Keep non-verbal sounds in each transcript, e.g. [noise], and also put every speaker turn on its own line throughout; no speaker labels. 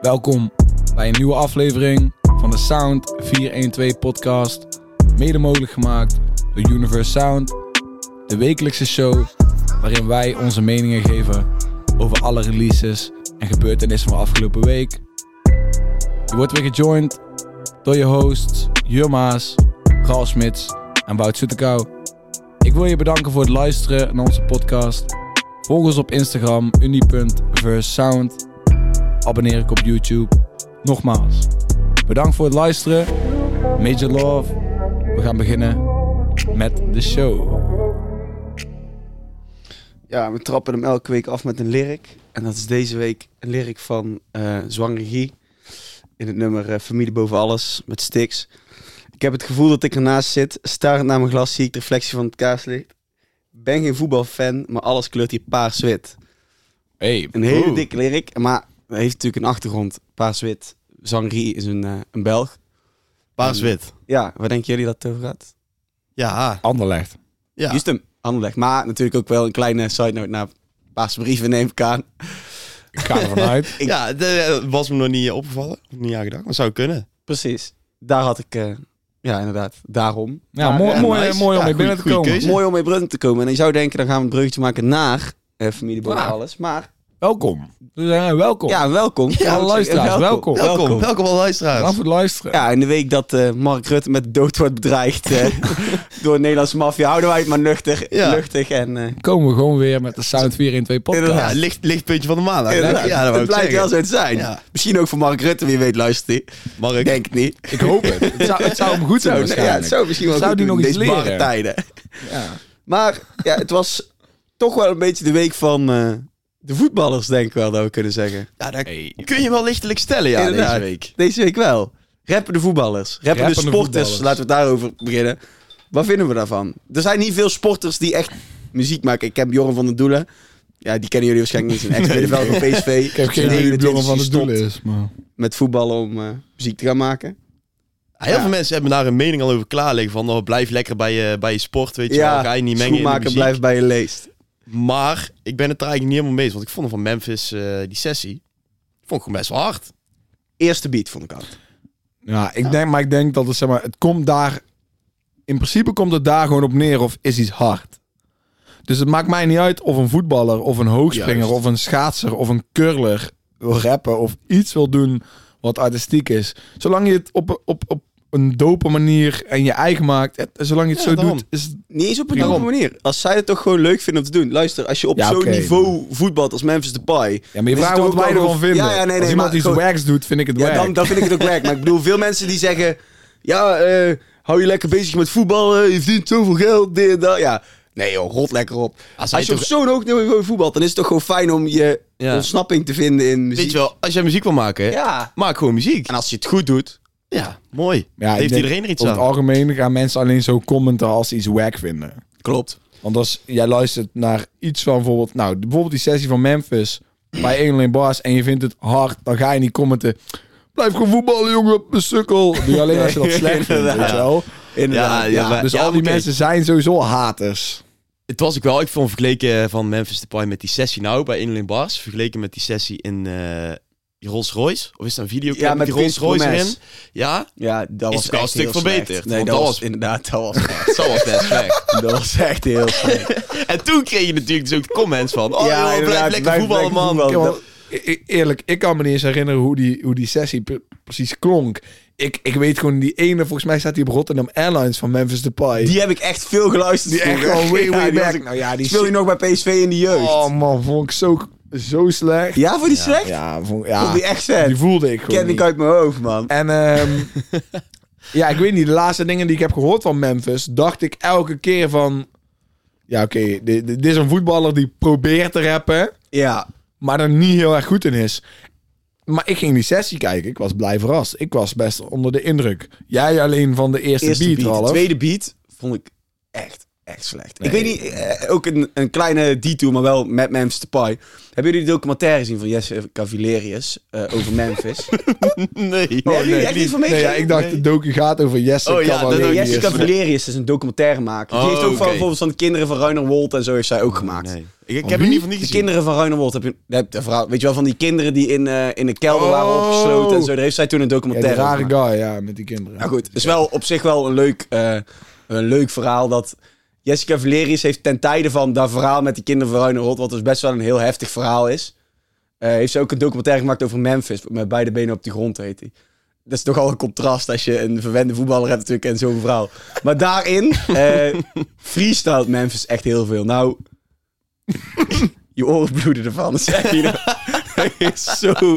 Welkom bij een nieuwe aflevering van de Sound 412 podcast. Mede mogelijk gemaakt door Universe Sound. De wekelijkse show waarin wij onze meningen geven over alle releases en gebeurtenissen van afgelopen week. Je wordt weer gejoind door je hosts Jur Maas, Carl Smits en Wout Soetekau. Ik wil je bedanken voor het luisteren naar onze podcast. Volg ons op Instagram uni.versound abonneer ik op YouTube. Nogmaals, bedankt voor het luisteren. Major Love. We gaan beginnen met de show.
Ja, we trappen hem elke week af met een lyric. En dat is deze week een lyric van eh Zwangere Guy. In het nummer eh, Familie Boven Alles met Stix. Ik heb het gevoel dat ik ernaast zit. Starend naar mijn glas zie ik de reflectie van het kaarslicht. Ben geen voetbalfan, maar alles kleurt hier paars-wit.
Hey,
Een hele
oeh.
dikke lyric, maar hij heeft natuurlijk een achtergrond. Paars-wit. Zwangere is een, eh, een Belg.
Paars-wit.
Ja, waar denken jullie dat het over gaat?
Ja,
Anderlecht.
ja.
Juist hem, Anderlecht. Maar natuurlijk ook wel een kleine side note naar Paarse brieven neem ik aan.
Ik ga ervan
[laughs]
uit.
ja de, was me nog niet eh, opgevallen. Of Niet aangedacht, maar zou kunnen.
Precies. Daar had ik... eh, ja, inderdaad. Daarom.
Ja,
Maar,
mooi,
eh,
mooi,
nice.
mooi om
Ja,
mee binnen te
goeie-
komen.
goeie keuze.
Mooi om mee brunten te komen. En je zou denken, dan gaan we een bruggetje maken naar eh, Familie Boven
Ja.
Alles. Maar
Welkom. Dus, eh, welkom.
ja, welkom.
Ja,
ik
luisteraars,
zeg,
welkom.
Welkom, welkom, al luisteraars.
Bedankt voor het luisteren.
Ja, in de week dat eh, Mark Rutte met dood wordt bedreigd eh,
[laughs]
door een Nederlandse maffia, houden wij het maar nuchter.
Ja.
Luchtig en... eh,
Komen we gewoon weer met de Sound 4 in 2 podcast.
Ja, licht, lichtpuntje van de maandag.
inderdaad,
Ja, dat wou
het
ik
blijkt wel
zeggen.
zo te zijn.
Ja.
Misschien ook voor Mark Rutte, wie weet luistert hij. Ik
Mark,
denk het niet.
Ik hoop het. Het zou, het zou hem goed zijn
Zou- nou, ja,
waarschijnlijk.
het zou misschien wel
Zou
goed
die
doen
nog
in
iets
deze barre
leren?
tijden.
Ja.
Maar ja, het was toch wel een beetje de week van eh, de voetballers, denk ik wel, dat we kunnen zeggen.
ja, dat
Hey.
kun je wel lichtelijk stellen ja,
Inderdaad.
deze week.
Deze week wel. Rappen de voetballers. Rappen de
Rappende
sporters.
voetballers.
Laten we daarover beginnen. Wat vinden we daarvan? Er zijn niet veel sporters die echt muziek maken. Ik ken Bjorn van den Doelen. Ja, die kennen jullie waarschijnlijk niet. Een ex [laughs] middenveld van PSV.
Ik heb geen idee wie Bjorn van het doel is. Maar...
Met voetballen om eh, muziek te gaan maken.
Ah, Heel
Ja.
veel mensen hebben daar een mening al over klaar liggen. Van, oh, blijf lekker bij je, bij je sport, weet je wel. Ga je niet mengen in de
schoenmaker
muziek.
blijft bij je leest.
Maar ik ben het er eigenlijk niet helemaal mee eens. Want ik vond hem van Memphis, eh, die sessie, vond ik gewoon best wel hard.
Eerste beat vond ik altijd.
Ja, ik Denk, maar ik denk dat het, zeg maar, het komt daar... In principe komt het daar gewoon op neer of is iets hard. Dus het maakt mij niet uit of een voetballer of een hoogspringer
Juist.
of een schaatser of een curler wil rappen of iets wil doen wat artistiek is. Zolang je het op, op, op een dope manier en je eigen maakt, het- zolang je het
Ja,
zo
daarom.
doet, is het...
Niet eens op een
Prima.
andere manier. Als zij het toch gewoon leuk vinden om te doen. Luister, als je op
Ja,
zo'n
oké.
niveau voetbalt als Memphis Depay.
Ja, maar je
Is
vraagt
het
wat
ook
wij
wel
ervan
gewoon-
vinden.
Ja, ja, nee, nee,
Als iemand
maar
iets
gewoon-
wags doet, vind ik het
Ja,
wack.
dan, dan vind ik het ook werk. Maar ik bedoel, veel mensen die zeggen... Ja, eh, hou je lekker bezig met voetballen. Je verdient zoveel geld, dit en dat. Ja, nee joh, rot lekker op. Als,
hij
je op
toch-
zo'n hoog niveau voetbalt, dan is het toch gewoon fijn om je
Ja.
ontsnapping te vinden in muziek.
Weet je wel, als jij muziek wil maken, hè,
Ja.
maak gewoon muziek.
En als je het goed doet...
Ja, mooi.
Ja, ik
Heeft
denk-
iedereen er iets
Over het
aan?
algemeen gaan mensen alleen zo commenten als ze iets wack vinden.
Klopt.
Want als jij luistert naar iets van bijvoorbeeld, nou, bijvoorbeeld die sessie van Memphis bij 1 alleen Bars en je vindt het hard, dan ga je niet commenten. Blijf gewoon voetballen, jongen, een sukkel. Doe je alleen als je
[laughs]
dat slecht vindt, weet je wel.
Inderdaad.
Ja, ja, maar-
Dus al die
oké. Oh,
mensen zijn sowieso haters.
Het was ik wel. Ik vond vergeleken eh, van Memphis Depay met die sessie nou bij Inland Bars. Vergeleken met die sessie in eh, die Rolls Royce. Of is dat een videoclip
Ja,
met
met
die Rolls
Vince
Royce
Gomez.
erin? Ja,
Ja, dat
Is
was
wel
echt
een stuk
heel slecht.
verbeterd,
Nee,
want
dat
dat
was
was-
inderdaad... Dat was,
dat was net
[laughs]
slecht.
dat was echt
[laughs]
heel slecht.
En toen kreeg je natuurlijk dus ook de comments van... Oh,
Ja,
joh,
inderdaad,
blijf lekker
blijf
voetballen,
lekker
man.
voetballen.
Ja, want e- e- eerlijk, ik kan me niet eens herinneren hoe die, hoe die sessie pre- precies klonk. Ik, ik weet gewoon die ene, volgens mij staat die op Rotterdam Airlines van Memphis Depay.
Die heb ik echt veel geluisterd.
Die echt
vroeger.
al way,
Ja,
way
die was
back.
ik-
nou [laughs] ja, die
Speel je nog bij PSV in de jeugd?
Oh man, vond ik zo, zo slecht.
Ja, vond die slecht?
Ja, vond,
Vond
ja
die echt vet?
die voelde ik gewoon
Ken ik
niet.
uit mijn hoofd, man.
En ehm, [laughs] ja, ik weet niet. De laatste dingen die ik heb gehoord van Memphis, dacht ik elke keer van... Ja, oké, di- di- dit is een voetballer die probeert te rappen,
Ja,
maar er niet heel erg goed in is. Maar ik ging die sessie kijken. Ik was blij verrast. Ik was best onder de indruk. Jij alleen van de eerste,
eerste
beat,
beat.
Ralf.
tweede beat vond ik echt, echt slecht. Ik
Nee.
weet niet, eh, ook een, een kleine detour, maar wel met Memphis Depay. Hebben jullie de documentaire gezien van Jesse Cavillerius eh,
[laughs]
over Memphis?
[laughs] Nee.
Oh, nee, jullie echt
niet.
niet van
Oh, Nee, ja,
meegekregen?
ik dacht, de docu gaat over Jesse
Oh ja, dat
Cavalieri.
ook.
Jesse
Yes.
Cavillerius is een documentairemaker. Die
Oh,
heeft ook van,
oké.
bijvoorbeeld van de kinderen van Ruiner Wolt en zo heeft zij ook gemaakt.
Nee. Ik, ik
Van
heb
wie?
hem in ieder geval niet
De
gezien.
kinderen van Ruinerwold heb je, daar heb je een verhaal, weet je wel, van die kinderen die in, eh, in de kelder waren
Oh.
opgesloten en zo. Daar heeft zij toen een
Ja, die
documentaire over
rare
gemaakt.
guy, ja, met die kinderen.
Nou goed, het is wel op zich wel een leuk, eh, een leuk verhaal dat Jessica Valerius heeft ten tijde van dat verhaal met die kinderen van Ruinerwold, wat dus best wel een heel heftig verhaal is, eh, heeft ze ook een documentaire gemaakt over Memphis, met beide benen op de grond heet die. Dat is toch al een contrast als je een verwende voetballer hebt natuurlijk en zo'n verhaal. Maar daarin eh freestylt Memphis echt heel veel. Nou, [laughs] je oren bloeden ervan. nou. Dat is echt niet normaal. Dat
[laughs]
is zo...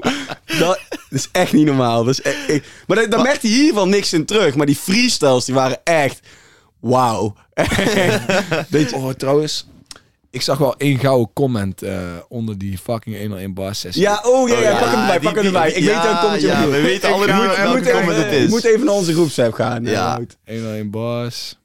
Dat is echt niet normaal. Dat is echt- ik- maar daar- daar merkte je hiervan niks in terug. Maar die freestyles, die waren echt... Wauw.
Oh, trouwens, ik zag wel één gouden comment eh, onder die fucking 101 bar sessie.
Ja, oh ja, ja,
ja,
pak hem erbij,
die-
pak hem
die-
erbij. Ik
die-
weet welk
ja,
comment je
ja,
bedoelt.
we weten
Ik
alle
ga-
goed
we
welke
moeten even-
comment het
we
is.
moeten even naar onze groepsapp gaan. eh,
Ja.
Ja. goed.
101 bars.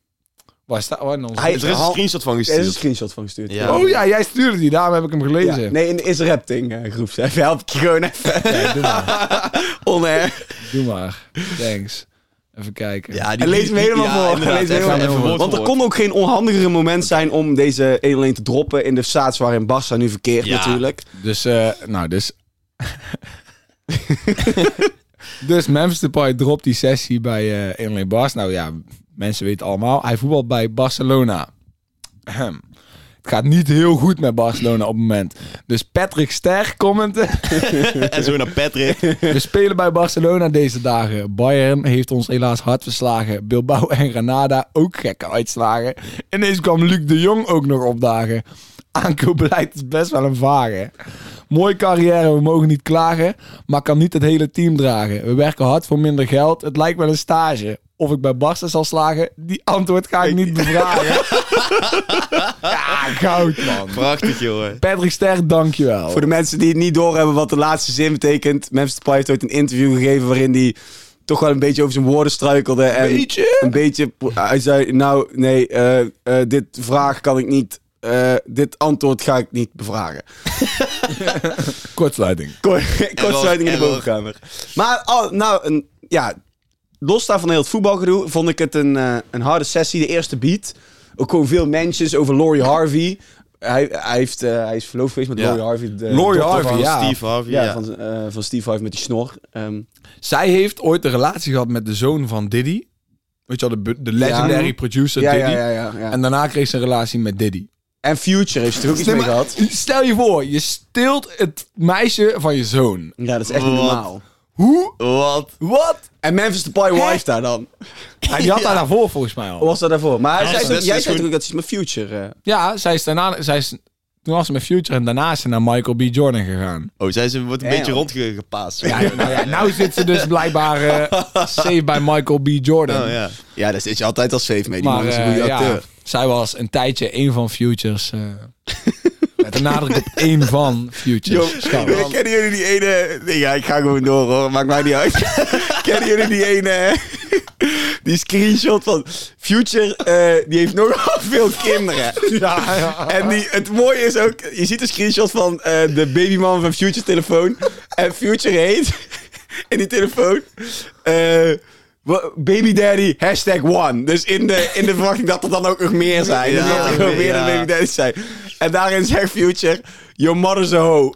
Waar staat waar in onze...
Hij-
Er is een
Hal-
screenshot van
Er is een
gestuurd.
screenshot van gestuurd.
Ja.
Oh ja, jij stuurde die, daarom heb ik hem
Ja,
gelezen.
Nee, in de Is Rapting eh, groepsapp. [laughs] Help ik je gewoon even.
Ja, doe maar.
On air.
Doe maar. Thanks. Even kijken.
Ja, die
En lees hem helemaal voor.
inderdaad,
Lees hem
even-
helemaal
even
voor.
woord
Want
voor
er
woord.
kon ook geen onhandigere moment zijn om deze 1-1 te droppen in de staats waarin Barça nu verkeert
Ja.
natuurlijk.
Dus, eh, nou, dus... [laughs] dus Memphis Depay dropt die sessie bij eh 101 Bars. Nou ja, mensen weten allemaal. Hij voetbalt bij Barcelona. Ahem. Het gaat niet heel goed met Barcelona op het moment. Dus Patrick Ster commenten.
En zo naar Patrick.
[laughs]
We spelen bij Barcelona deze dagen. Bayern heeft ons helaas hard verslagen. Bilbao [laughs] en Granada ook gekke uitslagen. Ineens kwam Luc de Jong ook nog opdagen. Aankoopbeleid is best wel een vage. Mooie carrière, we mogen niet klagen, maar kan niet het hele team dragen. We werken hard voor minder geld. Het lijkt wel een stage. Of ik bij Barca zal slagen, die antwoord ga ik niet bevragen. ja, goud man.
Prachtig, joh.
Patrick Ster, dankjewel.
Voor de mensen die het niet doorhebben wat de laatste zin betekent. Memphis Depay heeft ooit een interview gegeven waarin hij toch wel een beetje over zijn woorden struikelde. En
Beetje?
Een beetje. Hij zei, nou nee, eh, eh, dit vraag kan ik niet, eh, dit antwoord ga ik niet bevragen. [laughs]
Kortsluiting.
Kort- Kortsluiting in de
error.
bovenkamer. Maar al- nou, een, ja, los daarvan heel het voetbalgedoe, vond ik het een, eh, een harde sessie. De eerste beat. Ook gewoon veel mentions over Laurie Harvey. Hij, hij, heeft, eh, hij is verloofd geweest met
Ja.
Laurie Harvey. De
Laurie
dochter
Harvey,
van-
ja.
Steve Harvey.
Ja,
ja.
Van, eh, van Steve Harvey met die snor. Ehm,
Zij heeft ooit een relatie gehad met de zoon van Diddy. Weet je wel, de, bu- de legendary
Ja.
producer
ja, ja,
Diddy.
ja, ja, ja. En,
En daarna kreeg ze een relatie met Diddy.
Future heeft er ook iets
Nee,
mee
maar
gehad.
[laughs] Stel je voor, je steelt het meisje van je zoon.
Ja, dat is echt niet
Wat?
normaal.
Hoe?
Wat?
Wat?
En Memphis Depay
Hè?
wife daar dan.
Hij die had daar daarvoor volgens mij
Hoe
al.
was dat daarvoor? Maar hij
Ja,
zei
dat
ook-
is-
jij
dat
zei
is
natuurlijk dat iets met Future... eh,
Ja, zij is daarna... Zij is, toen was ze met Future en daarna is ze naar Michael B. Jordan gegaan.
Oh, zij ze wordt een
Ja,
beetje
joh.
rondgepaast.
Ja, nou, ja, nou zit ze dus blijkbaar [laughs] eh safe bij Michael B. Jordan.
Oh, ja.
Ja, daar zit je altijd als safe mee. Die
Maar
man is een goede
eh, ja,
acteur.
zij was een tijdje een van Futures. eh, [laughs] met de nadruk op één van Futures. Schat.
[laughs] Yo, kennen jullie die ene... Nee, ja, ik ga gewoon door hoor, maakt mij niet uit. [laughs] kennen jullie die ene... eh, [laughs] Die screenshot van Future, eh, die heeft nogal veel kinderen.
Ja, ja.
En die, het mooie is ook, je ziet een screenshot van eh, de babyman van Future telefoon. En Future heet [laughs] in die telefoon eh, wa- Baby Daddy hashtag one. Dus in de, in de verwachting dat er dan ook nog meer zijn.
Ja,
dus dat er gewoon meer dan
ja.
Baby Daddy's zijn. En daarin zegt Future, your mother's a hoe.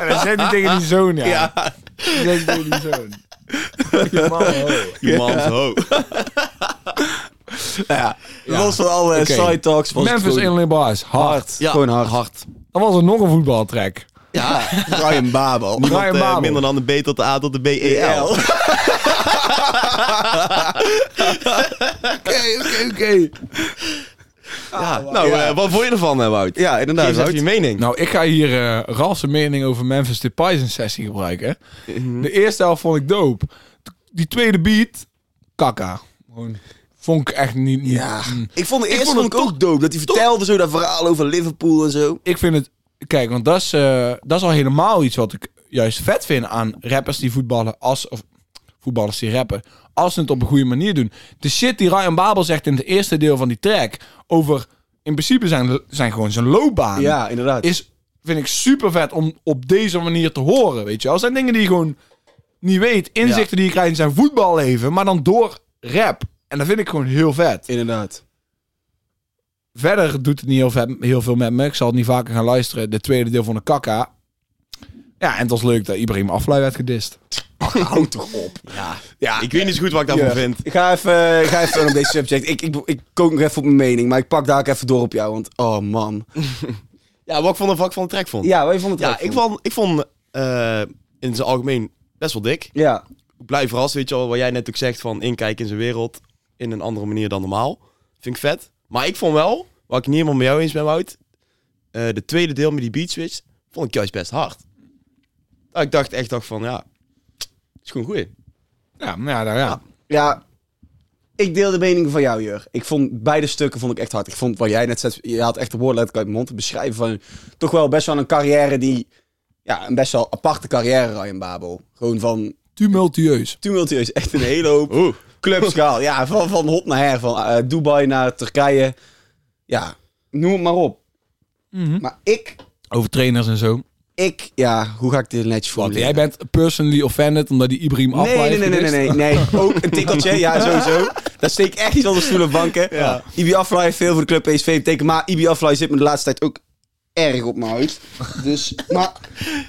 En dan [laughs] zegt hij tegen die zoon, ja.
Ja.
Dan zegt hij tegen die zoon. Die man, [laughs] oh.
Iemand ho.
Ja, los van alle
Oké.
eh, side talks. was het
Memphis
gewoon
Inland Bars, hard.
Ja,
Gewoon hard.
Dan was er nog een voetbaltrack.
Ja, Brian Babel.
Brian
Want, eh,
Babel.
minder dan de B tot de A tot de B E L.
Oké, oké, oké.
Ja. Nou, eh, wat vond je ervan, eh, Wout?
Ja, inderdaad.
Geef eens even je
Wout.
mening.
Nou, ik ga hier eh Ralf zijn mening over Memphis Depay zijn sessie gebruiken. De eerste helft vond ik dope. T- Die tweede beat, kaka. Gewoon, vond ik echt niet... mm. niet
Ja. Ik vond de
Ik
eerste
vond
vond
het
ik ook dope. Dat hij vertelde zo dat verhaal over Liverpool en zo.
ik vind het. Kijk, want dat is, eh, dat is al helemaal iets wat ik juist vet vind aan rappers die voetballen. Als, of voetballers die rappen. Als ze het op een goede manier doen. De shit die Ryan Babel zegt in het eerste deel van die track. Over in principe zijn, zijn gewoon zijn loopbaan.
inderdaad.
Is, vind ik super vet om op deze manier te horen. Weet je wel, zijn dingen die je gewoon niet weet. Inzichten die je krijgt in zijn voetballeven. Maar dan door rap. En dat vind ik gewoon heel vet.
Inderdaad.
Verder doet het niet heel, ve- heel veel met me. Ik zal het niet vaker gaan luisteren. De tweede deel van de kakka. Ja, en het was leuk dat Ibrahim Aflaai werd gedist. Ach, hou toch op.
Ja,
Ja,
ik weet niet zo goed wat ik daarvan
Ja.
vind.
Ik ga even, ik ga even op deze subject. Ik, ik, ik kook nog even op mijn mening, maar ik pak daar ook even door op jou. Want, oh man.
Ja, wat ik van de vak van de track vond.
Ja, wat je vond het
Ja,
ook
ik vond, ik vond eh, in zijn algemeen best wel dik.
Ja,
Ik blijf verrast, weet je wel, wat jij net ook zegt van inkijken in zijn wereld in een andere manier dan normaal. Vind ik vet. Maar ik vond wel, wat ik niet helemaal met jou eens ben, Wout, eh, de tweede deel met die beat switch, vond ik juist best hard. Nou, ik dacht echt dacht van, ja, is gewoon goed.
Ja, maar ja, nou ja.
ja. Ik deel de mening van jou, Jur. Ik vond beide stukken vond ik echt hard. Ik vond wat jij net zei, je had echt de woorden letterlijk uit mijn mond te beschrijven van toch wel best wel een carrière die, ja, een best wel aparte carrière, Ryan Babel. Gewoon van
Tumultueus.
tumultueus, echt een hele hoop
Oeh.
clubs gehaald. Ja, van, van hot naar her, van eh, Dubai naar Turkije. Ja, noem het maar op. Maar ik,
Over trainers en zo.
ik, ja, hoe ga ik dit netjes
Want
formuleren?
jij bent personally offended omdat die Ibrahim
Nee,
Aflaai
nee, nee, nee, nee, nee, nee. Ook een tikkeltje, [laughs] ja, sowieso. Daar steek ik echt iets onder stoelen en banken.
Ja.
IB Aflaai heeft veel voor de club PSV betekent, maar IB Aflaai zit me de laatste tijd ook erg op mijn huid. Dus, maar,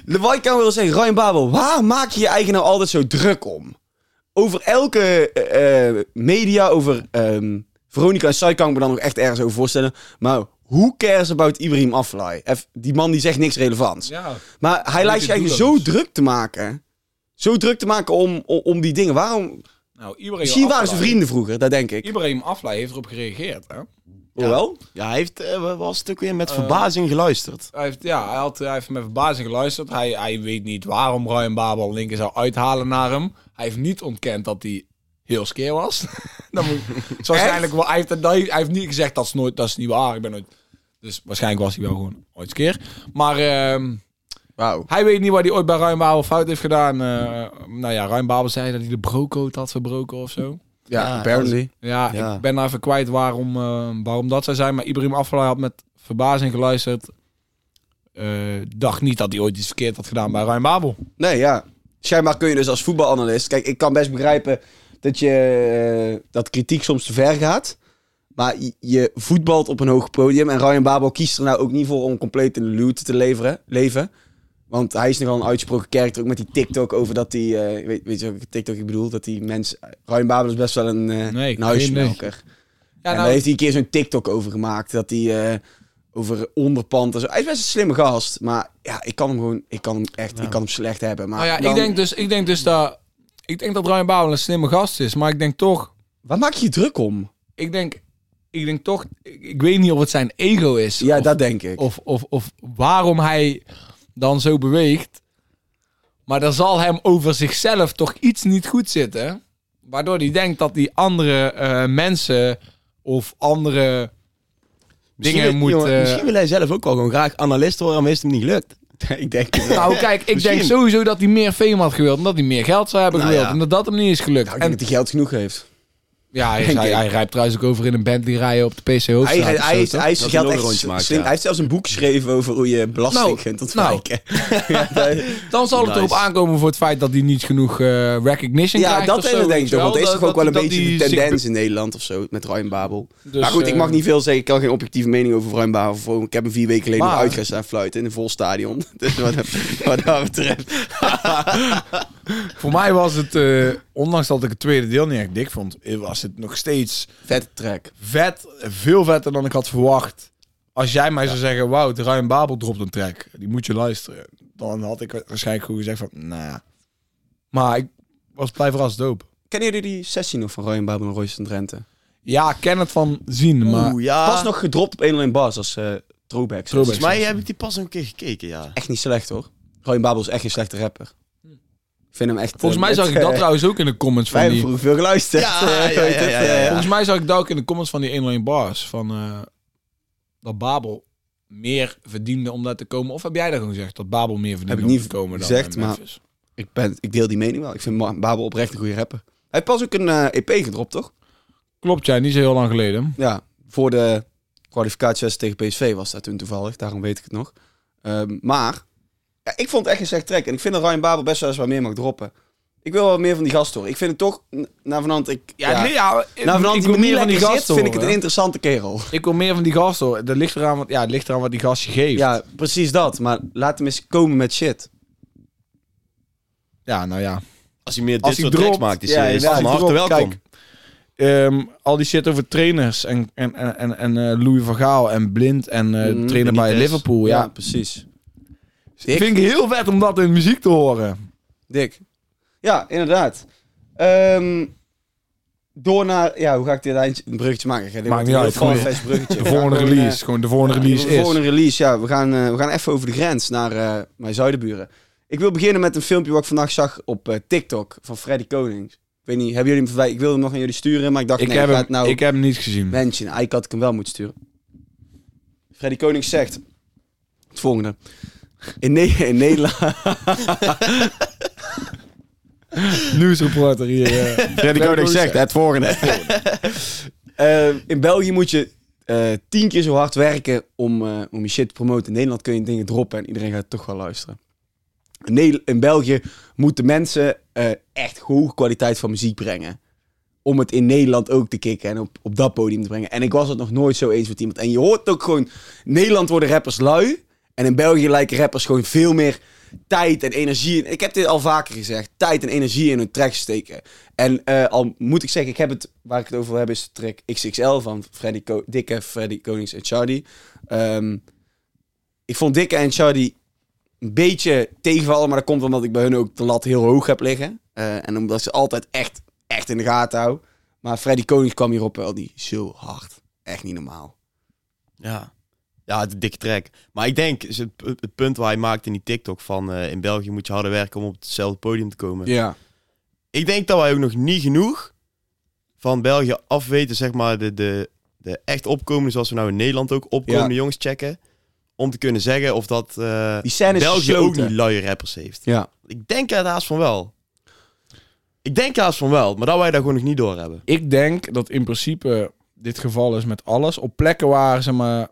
de- [laughs] wat ik kan wel zeggen, Ryan Babel, waar maak je je eigen nou altijd zo druk om? Over elke eh, eh, media, over ehm, Veronica en Sai kan ik me dan nog echt ergens over voorstellen. Maar who cares about Ibrahim Aflaai? Eff- Die man die zegt niks relevants.
Ja.
Maar hij lijkt zich
doe
eigenlijk
dat
zo
dus.
druk te maken. Zo druk te maken om, om, om die dingen. Waarom?
Nou, Ibrahim
Misschien waren ze
Aflaai-
vrienden vroeger, dat denk ik.
Ibrahim Aflaai heeft erop gereageerd. Hè?
Hoewel?
Ja, hij heeft eh, wel een stuk weer met
Eh.
verbazing geluisterd.
Hij heeft, ja, hij, had, hij heeft met verbazing geluisterd. Hij, hij weet niet waarom Ryan Babel linker zou uithalen naar hem. Hij heeft niet ontkend dat hij heel skeer was. [laughs] dat moet, het is waarschijnlijk, wel- hij, heeft, dat- hij heeft niet gezegd dat is, nooit, dat is niet waar. Ik ben nooit, dus waarschijnlijk was hij wel gewoon ooit skeer. Maar ehm,
Wauw.
hij weet niet waar hij ooit bij Ryan Babel fout heeft gedaan. Eh, nou ja, Ryan Babel zei dat hij de brocode had verbroken of zo.
Ja,
Ja,
apparently.
Ja,
Ja.
ik ben nou even kwijt waarom, eh, waarom dat zou zijn. Maar Ibrahim Afellay had met verbazing geluisterd. Eh, dacht niet dat hij ooit iets verkeerd had gedaan bij Ryan Babel.
Nee, ja. Schijnbaar kun je dus als voetbalanalist... Kijk, ik kan best begrijpen dat je... eh, dat kritiek soms te ver gaat. Maar je- je voetbalt op een hoog podium. En Ryan Babel kiest er nou ook niet voor om compleet in de luwte te leveren, leven. Want hij is nogal een uitgesproken karakter. Ook met die TikTok over dat hij... eh, weet, weet je welke TikTok ik bedoel? Dat die mensen... Ryan Babel is best wel een, eh
Nee, ik
een
weet het niet.
huismelker.
Ja,
en
nou,
daar heeft hij een keer zo'n TikTok over gemaakt. Dat hij eh, over onderpand en zo. Hij is best een slimme gast. Maar ja, ik kan hem gewoon... Ik kan hem echt... Ik kan hem slecht hebben. Maar
nou ja,
dan-
ik, denk dus, ik denk dus dat... Ik denk dat Ryan Babel een slimme gast is. Maar ik denk toch...
Waar maak je je druk om?
Ik denk, ik denk toch... Ik, ik weet niet of het zijn ego is.
Ja,
of,
dat denk ik.
Of, of, of waarom hij dan zo beweegt. Maar dan zal hem over zichzelf toch iets niet goed zitten. Waardoor hij denkt dat die andere eh, mensen of andere
Misschien,
dingen moet...
jongen,
eh,
misschien wil hij zelf ook wel gewoon graag analist worden, maar is het hem niet gelukt.
[laughs] ik
[laughs]
denk het wel.
Nou kijk, ik denk
Misschien.
sowieso dat hij meer fame had gewild. En dat hij meer geld zou hebben
Nou
gewild.
ja.
En dat dat hem niet is gelukt.
Nou, ik denk
en,
dat hij geld genoeg heeft.
ja, hij,
denk
hij,
ik.
hij rijdt trouwens ook over in een Bentley rijden op de PC Hoofdstraat.
Hij, hij,
of zo,
hij, is-
toch?
hij is
Dat
geld
hij
echt
nog een rondje
slim.
maakt, ja.
Hij heeft zelfs een boek geschreven over hoe je belasting
Nou,
kunt
nou.
ontwijken. [laughs] ja,
[laughs]
dat-
Dan zal het
Nice.
erop aankomen voor het feit dat hij niet genoeg eh, recognition
ja,
krijgt.
dat
of zo,
denk
weet
ik
je
toch. Want
wel.
het is toch
Dat-
ook wel een
dat- dat
beetje de
hij zich
tendens in Nederland of zo. Met Ryan Babel.
Dus,
maar goed, ik
eh,
mag niet veel zeggen. Ik kan geen opobjectieve mening over Ryan Babel vormen. Ik heb hem vier weken geleden
Maar-
nog uit gaan staan fluiten in een vol stadion. [laughs] Dus wat, wat dat betreft.
Voor mij was het, eh, ondanks dat ik het tweede deel niet echt dik vond, eh, was het nog steeds
Vette track.
vet, veel vetter dan ik had verwacht. Als jij mij zou zeggen, Wout, Ryan Babel dropt een track, die moet je luisteren. Dan had ik waarschijnlijk gewoon gezegd van, nou ja. Maar ik was blij verrast doop.
Kennen jullie die sessie nog van Ryan Babel en Royce en Drenthe?
Ja, ik ken het van zien, maar...
Oeh, ja.
Pas nog gedropt op 1 bars als eh throwback.
Ah. Throwback.
Volgens mij heb ik die pas nog een keer gekeken, ja.
Echt niet slecht hoor. Ryan Babel is echt geen slechte rapper. Ik vind hem echt...
Volgens
eh,
mij zag
[laughs] het,
ik dat
eh,
trouwens ook in de comments
Wij
van
hebben
die...
vroeger veel geluisterd.
Ja,
eh, [laughs]
ja,
weet
ja,
het,
ja, ja,
eh,
ja.
Volgens mij zag ik dat ook in de comments van die 1 bars, van eh, dat Babel meer verdiende om daar te komen. Of heb jij dat gewoon gezegd, dat Babel meer verdiende
ik niet
om te komen dan
gezegd,
eh,
maar-
Memphis?
Ik, ben, ik deel die mening wel. Ik vind Ma- Babel oprecht een goede rapper. Hij heeft pas ook een eh, EP gedropt, toch?
Klopt, ja, niet zo heel lang geleden.
Ja, voor de kwalificatiewedstrijd tegen PSV was dat toen toevallig. Daarom weet ik het nog. Ehm, maar ja, ik vond het echt een slecht track. En ik vind dat Ryan Babel best wel eens wat meer mag droppen. Ik wil wel meer van die gast horen. Ik vind het toch, n- Navenant, ik... Ja,
Ja, Nou, nee, ja, ik-
Navenant,
ik
die
wil
manier
meer
van
van die
zit,
gast
vind ik het een
horen.
interessante kerel.
Ik wil meer van die gast hoor. Dat ligt eraan wat, ja, het ligt eraan wat die gast je geeft.
Ja, precies dat. Maar laat hem eens komen met shit.
Ja, nou ja.
Als hij meer
Als
dit
hij
soort tracks
dropt,
maakt, is
ja,
hij
inderdaad,
van
hij
harte
dropt.
welkom.
Kijk, Ehm, al die shit over trainers en, en, en, en, en eh, Louis van Gaal en Blind en eh
Mhm,
trainer bij
Benitez.
Liverpool. Ja.
precies.
Ik vind ik heel vet om dat in muziek te horen.
Dik. Ja, inderdaad. Ehm, door naar... Ja, hoe ga ik dit eindje, een bruggetje maken? Ik ga dit
Maakt
wordt
niet
een heel
uit,
fanfest bruggetje.
De
We
volgende
gaan gewoon,
release. gewoon de volgende
eh,
release
de
is.
volgende release, ja. We gaan, eh, we gaan even over de grens naar eh, mijn zuidenburen. Ik wil beginnen met een filmpje wat ik vandaag zag op eh, TikTok van Freddy Konings. Ik weet niet, hebben jullie hem verwijderd? Ik wilde hem nog aan jullie sturen, maar ik dacht,
ik,
nee,
heb
ik ga
hem,
het nou...
ik heb hem niet gezien.
Mention, eigenlijk had ik hem wel moeten sturen. Freddy Konings zegt het volgende. In, Ne- in Nederland...
Nieuwsreporter hier. [laughs] eh.
Freddy
Konings zegt
[laughs] het volgende. in België moet je eh, tien keer zo hard werken om, eh, om je shit te promoten. In Nederland kun je dingen droppen en iedereen gaat toch wel luisteren. In, Nederland, in België moeten mensen eh, echt hoge kwaliteit van muziek brengen. Om het in Nederland ook te kicken en op, op dat podium te brengen. En ik was het nog nooit zo eens met iemand. En je hoort ook gewoon, in Nederland worden rappers lui. En in België lijken rappers gewoon veel meer tijd en energie. in- Ik heb dit al vaker gezegd. Tijd en energie in hun tracks steken. En eh, al moet ik zeggen, ik heb het, waar ik het over wil hebben, is de track XXL van Freddy Ko- Dikke, Freddy Konings en Chardy. Ehm, ik vond Dikke en Chardy een beetje tegenvallen, maar dat komt omdat ik bij hun ook de lat heel hoog heb liggen. Eh, en omdat ik ze altijd echt, echt in de gaten hou. Maar Freddy Konings kwam hierop wel die zo hard. Echt niet normaal.
Ja. Ja, het is een dikke track. Maar ik denk, is het, het punt waar hij maakt in die TikTok van eh, in België moet je harder werken om op hetzelfde podium te komen.
Ja.
Ik denk dat wij ook nog niet genoeg van België afweten, zeg maar, de, de, de echt opkomende, zoals we nou in Nederland ook opkomende
Ja.
jongens checken. Om te kunnen zeggen of dat eh,
Die scène is
België ook
gesloten.
niet luie rappers heeft.
Ja.
Ik denk het haast van wel. Ik denk haast van wel, maar dat wij daar gewoon nog niet door hebben.
ik denk dat in principe dit geval is met alles. Op plekken waar zeg maar,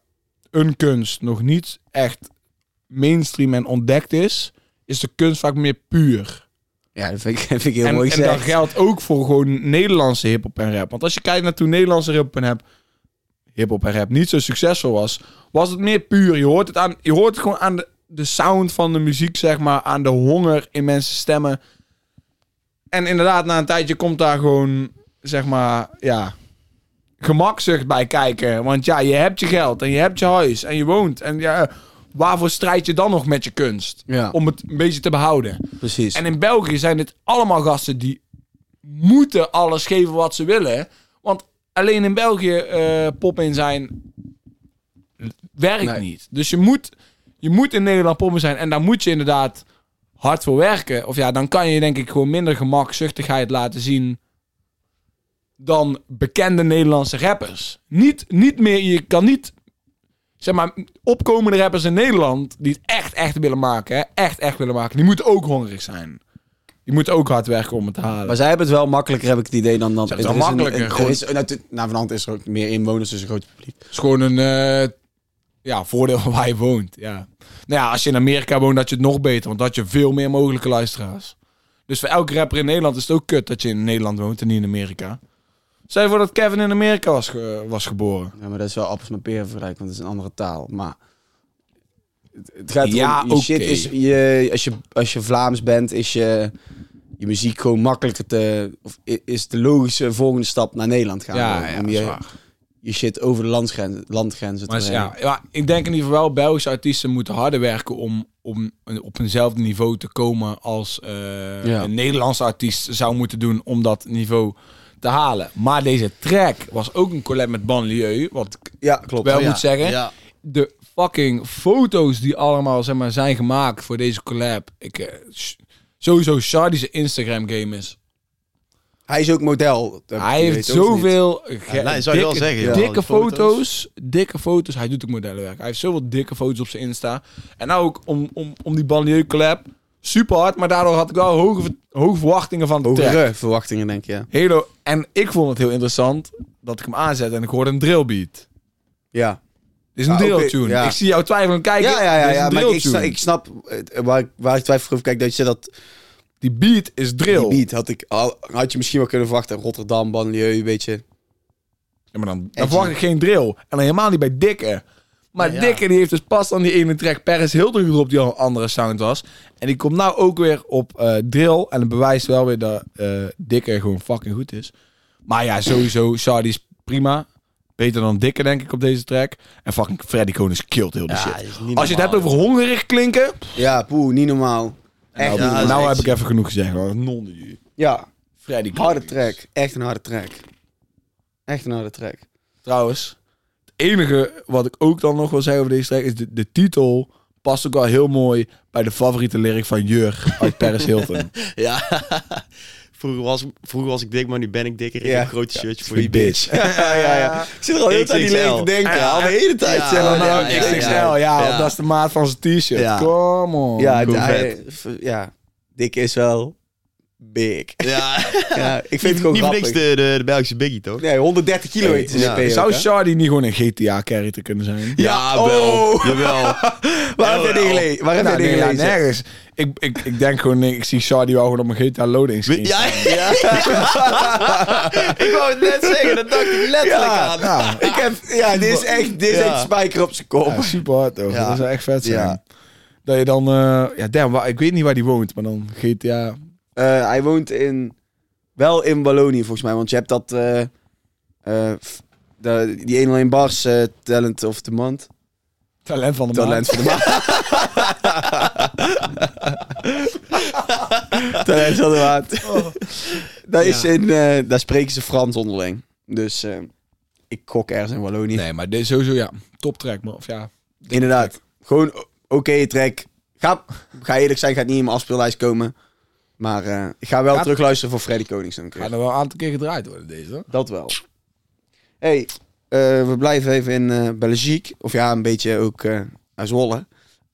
een kunst nog niet echt mainstream en ontdekt is, is de kunst vaak meer puur.
Ja, dat vind ik, [laughs] vind ik heel
en,
mooi
en dat
gezegd.
geldt ook voor gewoon Nederlandse hip-hop en rap. Want als je kijkt naar toen Nederlandse hip-hop en rap, hip-hop en rap niet zo succesvol was, was het meer puur. Je hoort het, aan, je hoort het gewoon aan de, de sound van de muziek, zeg maar, aan de honger in mensen stemmen. En inderdaad, na een tijdje komt daar gewoon, zeg maar, ja, gemakzucht bij kijken. Want ja, je hebt je geld en je hebt je huis en je woont. En ja, waarvoor strijd je dan nog met je kunst?
Ja,
Om het een beetje te behouden.
precies.
En in België zijn dit allemaal gasten die moeten alles geven wat ze willen. Want alleen in België eh, pop in zijn werkt
Nee.
niet. Dus je moet, je moet in Nederland pop in zijn. En daar moet je inderdaad hard voor werken. Of ja, dan kan je denk ik gewoon minder gemakzuchtigheid laten zien dan bekende Nederlandse rappers. Niet, niet meer, je kan niet, zeg maar, opkomende rappers in Nederland die het echt, echt willen maken, hè, echt, echt willen maken, die moeten ook hongerig zijn. Die moeten ook hard werken om het te halen.
Maar zij hebben het wel makkelijker, heb ik het idee, dan... dan
Ze hebben het wel
er is een-
makkelijker,
een-
gewoon.
er is- nou, tu- nou, van hand is er ook meer inwoners, dus een groot publiek.
Het is gewoon een eh, ja, voordeel [laughs] waar je woont. Ja. Nou ja, als je in Amerika woont, dat je het nog beter, want dat je veel meer mogelijke luisteraars. Dus voor elke rapper in Nederland is het ook kut dat je in Nederland woont en niet in Amerika. Stel je voor dat Kevin in Amerika was, ge- was geboren.
Ja, maar dat is wel appels met peren vergelijken, want het is een andere taal. Maar het, het gaat
Ja,
erom, je
oké.
shit is je, als je als je Vlaams bent, is je je muziek gewoon makkelijker te of i- is de logische volgende stap naar Nederland gaan om, om je, je shit over de landsgrenzen, landgrenzen te
Maar
brengen.
ja, ja, ik denk in ieder geval wel, Belgische artiesten moeten harder werken om, om een- op eenzelfde niveau te komen als eh,
Ja.
een Nederlandse artiest zou moeten doen om dat niveau te halen. Maar deze track was ook een collab met Banlieue, wat ik
Ja, klopt.
wel
Oh Ja.
moet zeggen.
Ja.
De fucking foto's die allemaal zeg maar, zijn gemaakt voor deze collab. Ik, eh, sh- sowieso Shardy's Instagram game is.
Hij is ook model. dat
Hij
weet
heeft
ook niet.
zoveel ge-
Ja, nee, zou je wel
dikke,
zeggen, ja.
dikke
Die
foto's,
foto's.
dikke foto's. Hij doet ook modellenwerk. Hij heeft zoveel dikke foto's op zijn Insta. En nou ook om, om, om die banlieue collab. Super hard, maar daardoor had ik wel hoge, ver- hoge verwachtingen van de track.
hogere verwachtingen denk je. Ja.
Helo, en ik vond het heel interessant dat ik hem aanzet en ik hoorde een drillbeat.
ja.
Dit is een
Ah, oké,
drilltune.
ja.
Ik zie jou twijfelen kijken.
Ja, ja, ja,
Dit is
ja,
een
maar ik,
drilltune.
sna- ik snap eh, waar, ik- waar ik twijfel over kijk dat je dat
Die beat is drill.
Die beat had, ik, al- had je misschien wel kunnen verwachten. Rotterdam, banlieue, weet je.
Ja, maar dan, dan
Edgy.
verwacht ik geen drill. En dan helemaal niet bij Dikke. Maar
Ja, ja.
Dikke die heeft dus pas aan die ene track Paris Hilton gedropt die al een andere sound was. En die komt nou ook weer op eh, drill. En het bewijst wel weer dat eh, Dikke gewoon fucking goed is. Maar ja, sowieso, Sardi is prima. Beter dan Dikke denk ik op deze track. En fucking Freddy Konings killt heel de
Ja,
shit.
is niet
Als je het
normaal,
hebt over hongerig klinken.
Ja, poeh, niet normaal. Echt
nou
niet normaal.
nou
echt.
heb ik even genoeg gezegd. hoor. Non nu.
Ja,
Freddy
harde
Konings.
track. Echt een harde track. Echt een harde track.
Trouwens, het enige wat ik ook dan nog wil zeggen over deze track is de, de titel past ook wel heel mooi bij de favoriete lyric van Jur uit
[laughs]
Paris Hilton.
Oh, Ja. [laughs] vroeger, was, vroeger was ik dik, maar nu ben ik dikker. Ik
Ja.
heb een grote shirtje voor
Die
je bitch.
bitch. Ja,
Ja, ja, ja. Ik zit er al de hele tijd niet
XXL.
leeg te denken.
Ja,
al de hele tijd.
ja,
zeg maar.
dan
ja,
ook
ja,
XXL, ja,
ja.
dat is de maat van zijn t-shirt.
Ja.
Come on.
Ja,
Goed.
ja,
vet.
eh, v- ja, Dick is wel big.
Ja.
Ja, ik
[laughs]
vind het gewoon
niet voor niks
grappig.
de, de, de Belgische biggie, toch?
Nee, 130 kilo
Nee,
heet ze
ja.
spelen.
Zou Shardy niet gewoon een GTA-character kunnen zijn?
Ja,
Ja,
wel.
oh.
Jawel.
Waar heb jij die
Jawel.
gelezen? Waar heb jij
Nou,
die
nee, ja,
gelezen?
nergens. Ik, ik, ik denk gewoon, nee, ik zie Shardy wel gewoon op mijn GTA loading screen.
Ja, ja. [laughs] ik wou het net zeggen, dat dacht ik letterlijk
Ja,
aan.
ja.
ik heb, ja, dit is echt, dit is
Ja.
echt spijker op zijn kop.
Ja, super hard, hoor.
Ja.
Dat zou echt vet zijn.
Ja.
Dat je dan, eh, ja, damn, waar, ik weet niet waar die woont, maar dan GTA
Eh, hij woont in, wel in Wallonië volgens mij, want je hebt dat, eh, eh, f- de, die 1 alleen bars eh, talent of the month.
Talent van de
Talent
[laughs]
van de maand. Talent van de maand.
[laughs]
Daar, is in, eh, daar spreken ze Frans onderling. Dus eh, ik gok ergens in Wallonië.
Nee, maar dit is sowieso ja, toptrack man. Of ja,
Inderdaad. Gewoon o- oké track. Ga, ga eerlijk zijn, gaat niet in mijn afspeellijst komen. Maar eh, ik ga wel
Gaat-
terugluisteren voor Freddy Konings dan een keer.
gaat er wel een aantal keer gedraaid worden deze. hoor.
Dat wel. hey, eh, we blijven even in eh Belgique. Of ja, een beetje ook eh naar Zwolle.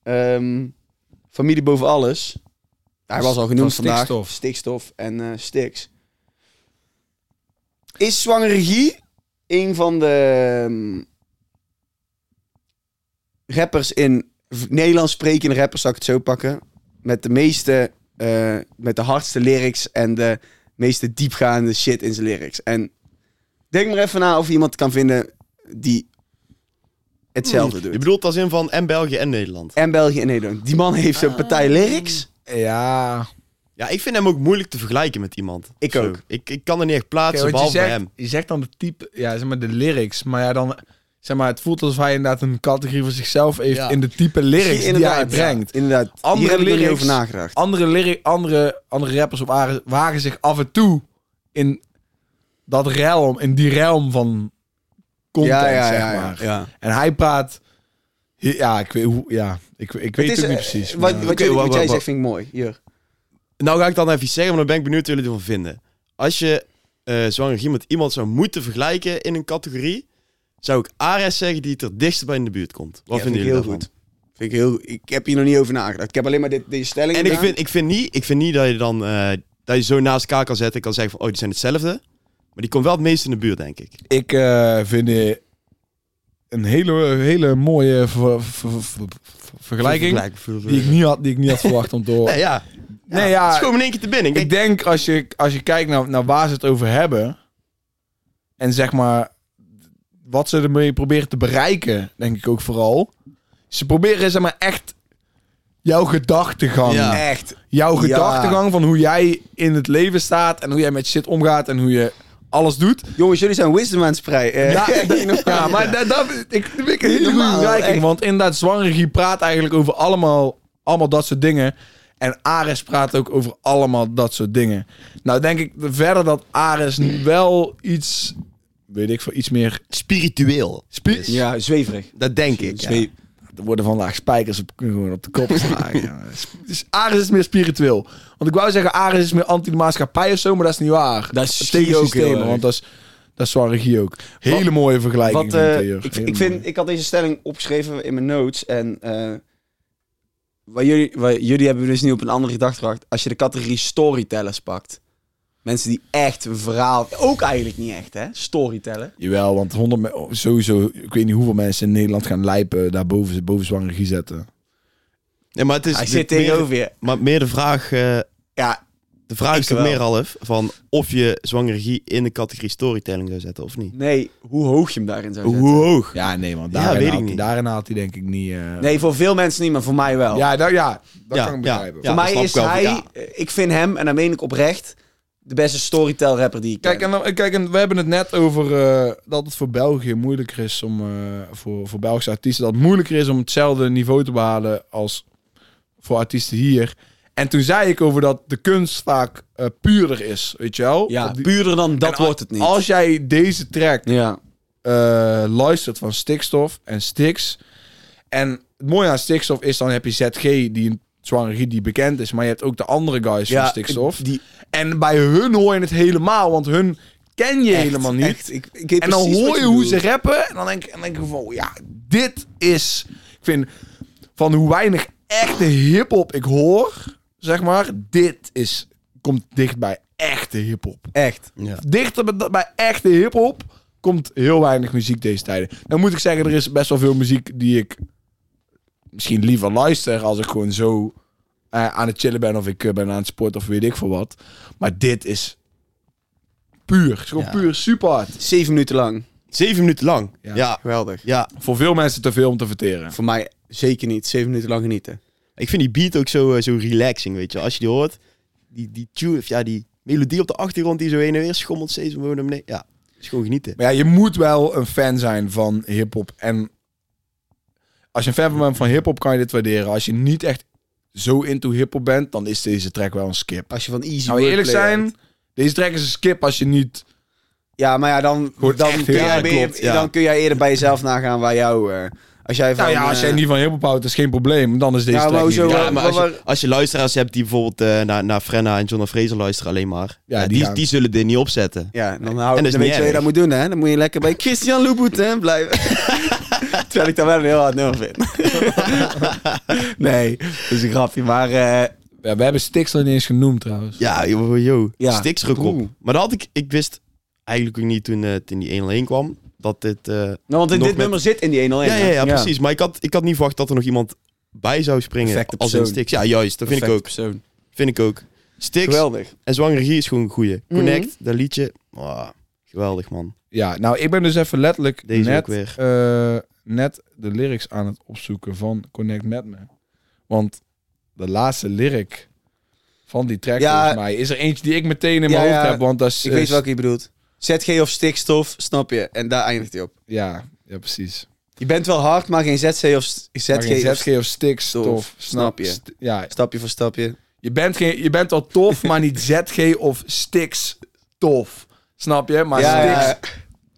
Ehm, familie boven alles. Hij was al genoemd
Van
vandaag.
Stikstof.
Stikstof en eh Stix. Is Zwangere Regie een van de ehm, rappers in... v- Nederlands sprekende rappers, zal ik het zo pakken. Met de meeste... eh, met de hardste lyrics en de meeste diepgaande shit in zijn lyrics. En denk maar even na of je iemand kan vinden die hetzelfde
Je
doet.
bedoelt als in van en België en Nederland.
En België en Nederland. Die man heeft zo'n partij lyrics.
Ja.
Ja, ik vind hem ook moeilijk te vergelijken met iemand.
Ik
Zo.
ook.
Ik, ik kan er niet echt plaatsen,
Oké, want
behalve
je,
bij
zegt,
hem.
je zegt dan de type, ja, zeg maar de lyrics, maar ja dan, zeg maar, het voelt alsof hij inderdaad een categorie voor zichzelf heeft
Ja.
in de type lyrics die, hij
Inderdaad, ja.
brengt.
Inderdaad.
Andere
Hier heb ik nog niet
lyrics.
over nagedacht.
Andere, lyric, andere, andere rappers op aarde wagen zich af en toe in dat realm, in die realm van content, zeg maar.
ja.
En hij praat. Ja, ik weet, hoe- ja, ik, ik weet het, ook
eh,
niet precies.
Wat,
maar-
wat,
Oké,
jij-
wa-
wat
wa-
jij
wa-
zegt vind ik mooi. Hier.
Nou ga ik dan even iets zeggen, maar dan ben ik benieuwd wat jullie ervan vinden. Als je eh zwanger iemand, iemand zou moeten vergelijken in een categorie, zou ik Ares zeggen die het er dichtst bij in de buurt komt. Wat
Ja,
vinden
vind ik
jullie
heel
daarvan?
Vind ik, heel, ik heb hier nog niet over nagedacht. Ik heb alleen maar dit, deze stelling
En ik
gedaan.
vind, ik, vind niet, ik vind niet dat je dan eh, dat je zo naast elkaar kan zetten en kan zeggen van, oh, die zijn hetzelfde. Maar die komt wel het meest in de buurt, denk ik.
Ik eh, vind eh, een hele, hele mooie ver- ver- ver- ver- vergelijking. Die ik, niet had, die ik niet had verwacht om te horen.
Nee, ja.
[laughs] Nee,
Het is
ja.
gewoon in één keer te binnen. Ik
Ik
denk,
denk als je, als je kijkt naar, naar waar ze het over hebben. En zeg maar. Wat ze ermee proberen te bereiken. Denk ik ook vooral. Ze proberen zeg maar echt. Jouw gedachtegang.
Ja.
Echt.
jouw
Ja.
gedachtegang van hoe jij in het leven staat en hoe jij met shit omgaat en hoe je alles doet.
Jongens, jullie zijn wisdom aan het spreiden. [laughs]
Ja, [laughs]
ja,
ja maar dat, dat ik, vind ik een hele goede
Normaal,
vergelijking,
echt.
want inderdaad, Zwanregie praat eigenlijk over allemaal, allemaal dat soort dingen. En Ares praat ook over allemaal dat soort dingen. Nou denk ik verder dat Ares wel iets, weet ik veel, iets meer...
spiritueel.
Spi-
ja, zweverig.
Dat denk ik, ja.
Zweef-
Er worden vandaag spijkers op, gewoon op de kop geslagen. jongen. dus Ares is meer spiritueel. Want ik wou zeggen, Ares is meer anti-maatschappij of zo, maar dat is niet waar.
Dat is
tegen
Guy ook heel
systemen,
erg.
want dat is, dat is waar regie ook. Hele mooie vergelijking.
Wat,
vind
eh,
Theo.
ik,
Hele
ik, vind,
mooie.
ik had deze stelling opgeschreven in mijn notes. En eh, waar jullie, waar jullie hebben dus nu op een andere gedachte gebracht. Als je de categorie storytellers pakt. Mensen die echt een verhaal... Ook eigenlijk niet echt, hè? Storytellen.
Jawel, want 100 me- oh, sowieso, ik weet niet hoeveel mensen in Nederland gaan lijpen daar boven, boven zwangere regie zetten.
Nee, maar het is
Hij
Dus de-
zit
meer-
tegenover je.
Maar meer de vraag, eh,
Ja,
De vraag is
Ik
toch
wel.
meer, Ralf, van of je zwangerie in de categorie storytelling zou zetten of niet.
Nee, hoe hoog je hem daarin zou zetten.
Hoe hoog?
Ja, nee man,
Ja,
daarin,
weet ik
haalt, hij-
niet. Oh.
daarin haalt hij denk ik niet... eh,
Nee, voor veel mensen niet, maar voor mij wel.
Ja, dat, ja, dat
Ja,
kan ik
ja,
begrijpen.
voor
ja. dat
mij
snap
is
ik wel.
hij,
Ja.
eh, ik vind hem, en dat meen ik oprecht, de beste storytell rapper die ik
Kijk,
ken.
en dan, kijk, en we hebben het net over eh, dat het voor België moeilijker is om eh, voor, voor Belgische artiesten dat het moeilijker is om hetzelfde niveau te behalen als voor artiesten hier. En toen zei ik over dat de kunst vaak eh, puurder is, weet je wel?
ja,
Dat die-
puurder dan dat
en al-
wordt het niet.
Als jij deze track
Ja,
eh, luistert van Stikstof en Stix. En het mooie aan Stikstof is dan heb je ZG die een zwangerie die bekend is, maar je hebt ook de andere guys
ja
van Stikstof.
Die
En bij hun hoor je het helemaal, want hun ken je
echt,
helemaal niet.
echt. Ik, ik weet
En dan
precies wat
hoor je hoe ze
bedoelt.
rappen. En dan denk, en dan denk ik van, ja, dit is... Ik vind, van hoe weinig echte hiphop ik hoor, zeg maar. Dit is, komt dicht bij echte hiphop.
Echt.
Ja.
Dichter bij- bij echte hiphop komt heel weinig muziek deze tijden. Dan moet ik zeggen, er is best wel veel muziek die ik misschien liever luister als ik gewoon zo eh, aan het chillen ben of ik eh, ben aan het sporten of weet ik veel wat. Maar dit is puur. Het is gewoon
Ja.
puur super hard.
Zeven minuten lang.
Zeven minuten lang.
Ja.
Ja. ja.
Geweldig.
Voor veel mensen te veel om te verteren.
Voor mij zeker niet. Zeven minuten lang genieten.
Ik vind die beat ook zo, eh, zo relaxing, weet je. wel. Als je die hoort, die, die tune, of ja, die melodie op de achtergrond die zo heen en weer schommelt steeds omhoog naar beneden. Ja, is gewoon genieten.
Maar ja, je moet wel een fan zijn van hip-hop. En als je een fan bent van hip-hop, kan je dit waarderen. Als je niet echt zo into hip-hop bent, dan is deze track wel een skip.
Als je van easy
Nou, eerlijk
wordplay
zijn,
houdt.
deze track is een skip als je niet.
Ja, maar ja, dan,
Gewoon
dan,
echt
kun,
heel
jij,
erg
ben je-
klopt, ja.
dan kun jij eerder bij jezelf nagaan waar jou... eh, als jij van...
nou ja, als jij
eh,
niet van hip-hop houdt, is geen probleem. Dan is deze
Ja, maar
track. niet
hoezo-
ja,
Ja, maar als
maar-
je, als je luisteraars hebt die bijvoorbeeld eh, naar, naar Frenna en John Fraser luisteren alleen maar.
Ja,
Ja,
die
die, die,
gaan-
zullen dit niet opzetten.
Ja, dan, hou,
En dat
dan
is
weet je
niet
wat je
erg.
dat moet doen, hè? Dan moet je lekker bij Christian Louboutin blijven. Terwijl ik daar wel een heel hard nummer vind. nee, dat is een grapje, maar... eh,
Ja, we hebben Stix nog niet eens genoemd trouwens.
Ja, joh, joh.
Ja.
Stiks druk
Oeh.
op. Maar dat had ik, ik wist eigenlijk ook niet toen eh, het in die 1-1 kwam, dat dit... eh,
nou, want in
Nog
dit
met-
nummer zit in die 101.
ja, ja, ja, precies. Maar ik had, ik had niet verwacht dat er nog iemand bij zou springen
Perfecte
als in
persoon.
Stiks. Ja, juist. Dat vind ik ook.
Persoon.
Vind ik ook. Stiks
Geweldig.
en Zwangerie is gewoon een goeie. Connect,
Mhm.
dat liedje. Ah, geweldig, man.
Ja, nou, ik ben dus even letterlijk
Deze
net,
ook weer.
eh, net de lyrics aan het opzoeken van Connect Met Me. Want de laatste lyric van die track,
Ja.
volgens mij, is er eentje die ik meteen in mijn
Ja,
hoofd
ja.
heb. Want dat is...
Ik weet
is-
welke je bedoelt. ZG of stikstof, snap je? En daar eindigt hij op.
Ja, ja precies.
Je bent wel hard, maar geen ZC of st-
Maar
ZG,
geen
of
ZG of Stix,
Stof,
tof.
snap je.
st- ja,
stapje voor stapje.
Je bent, geen, je bent wel tof, maar
[laughs]
niet ZG of Stix tof. Snap je? Maar
Ja,
Stix,
ja.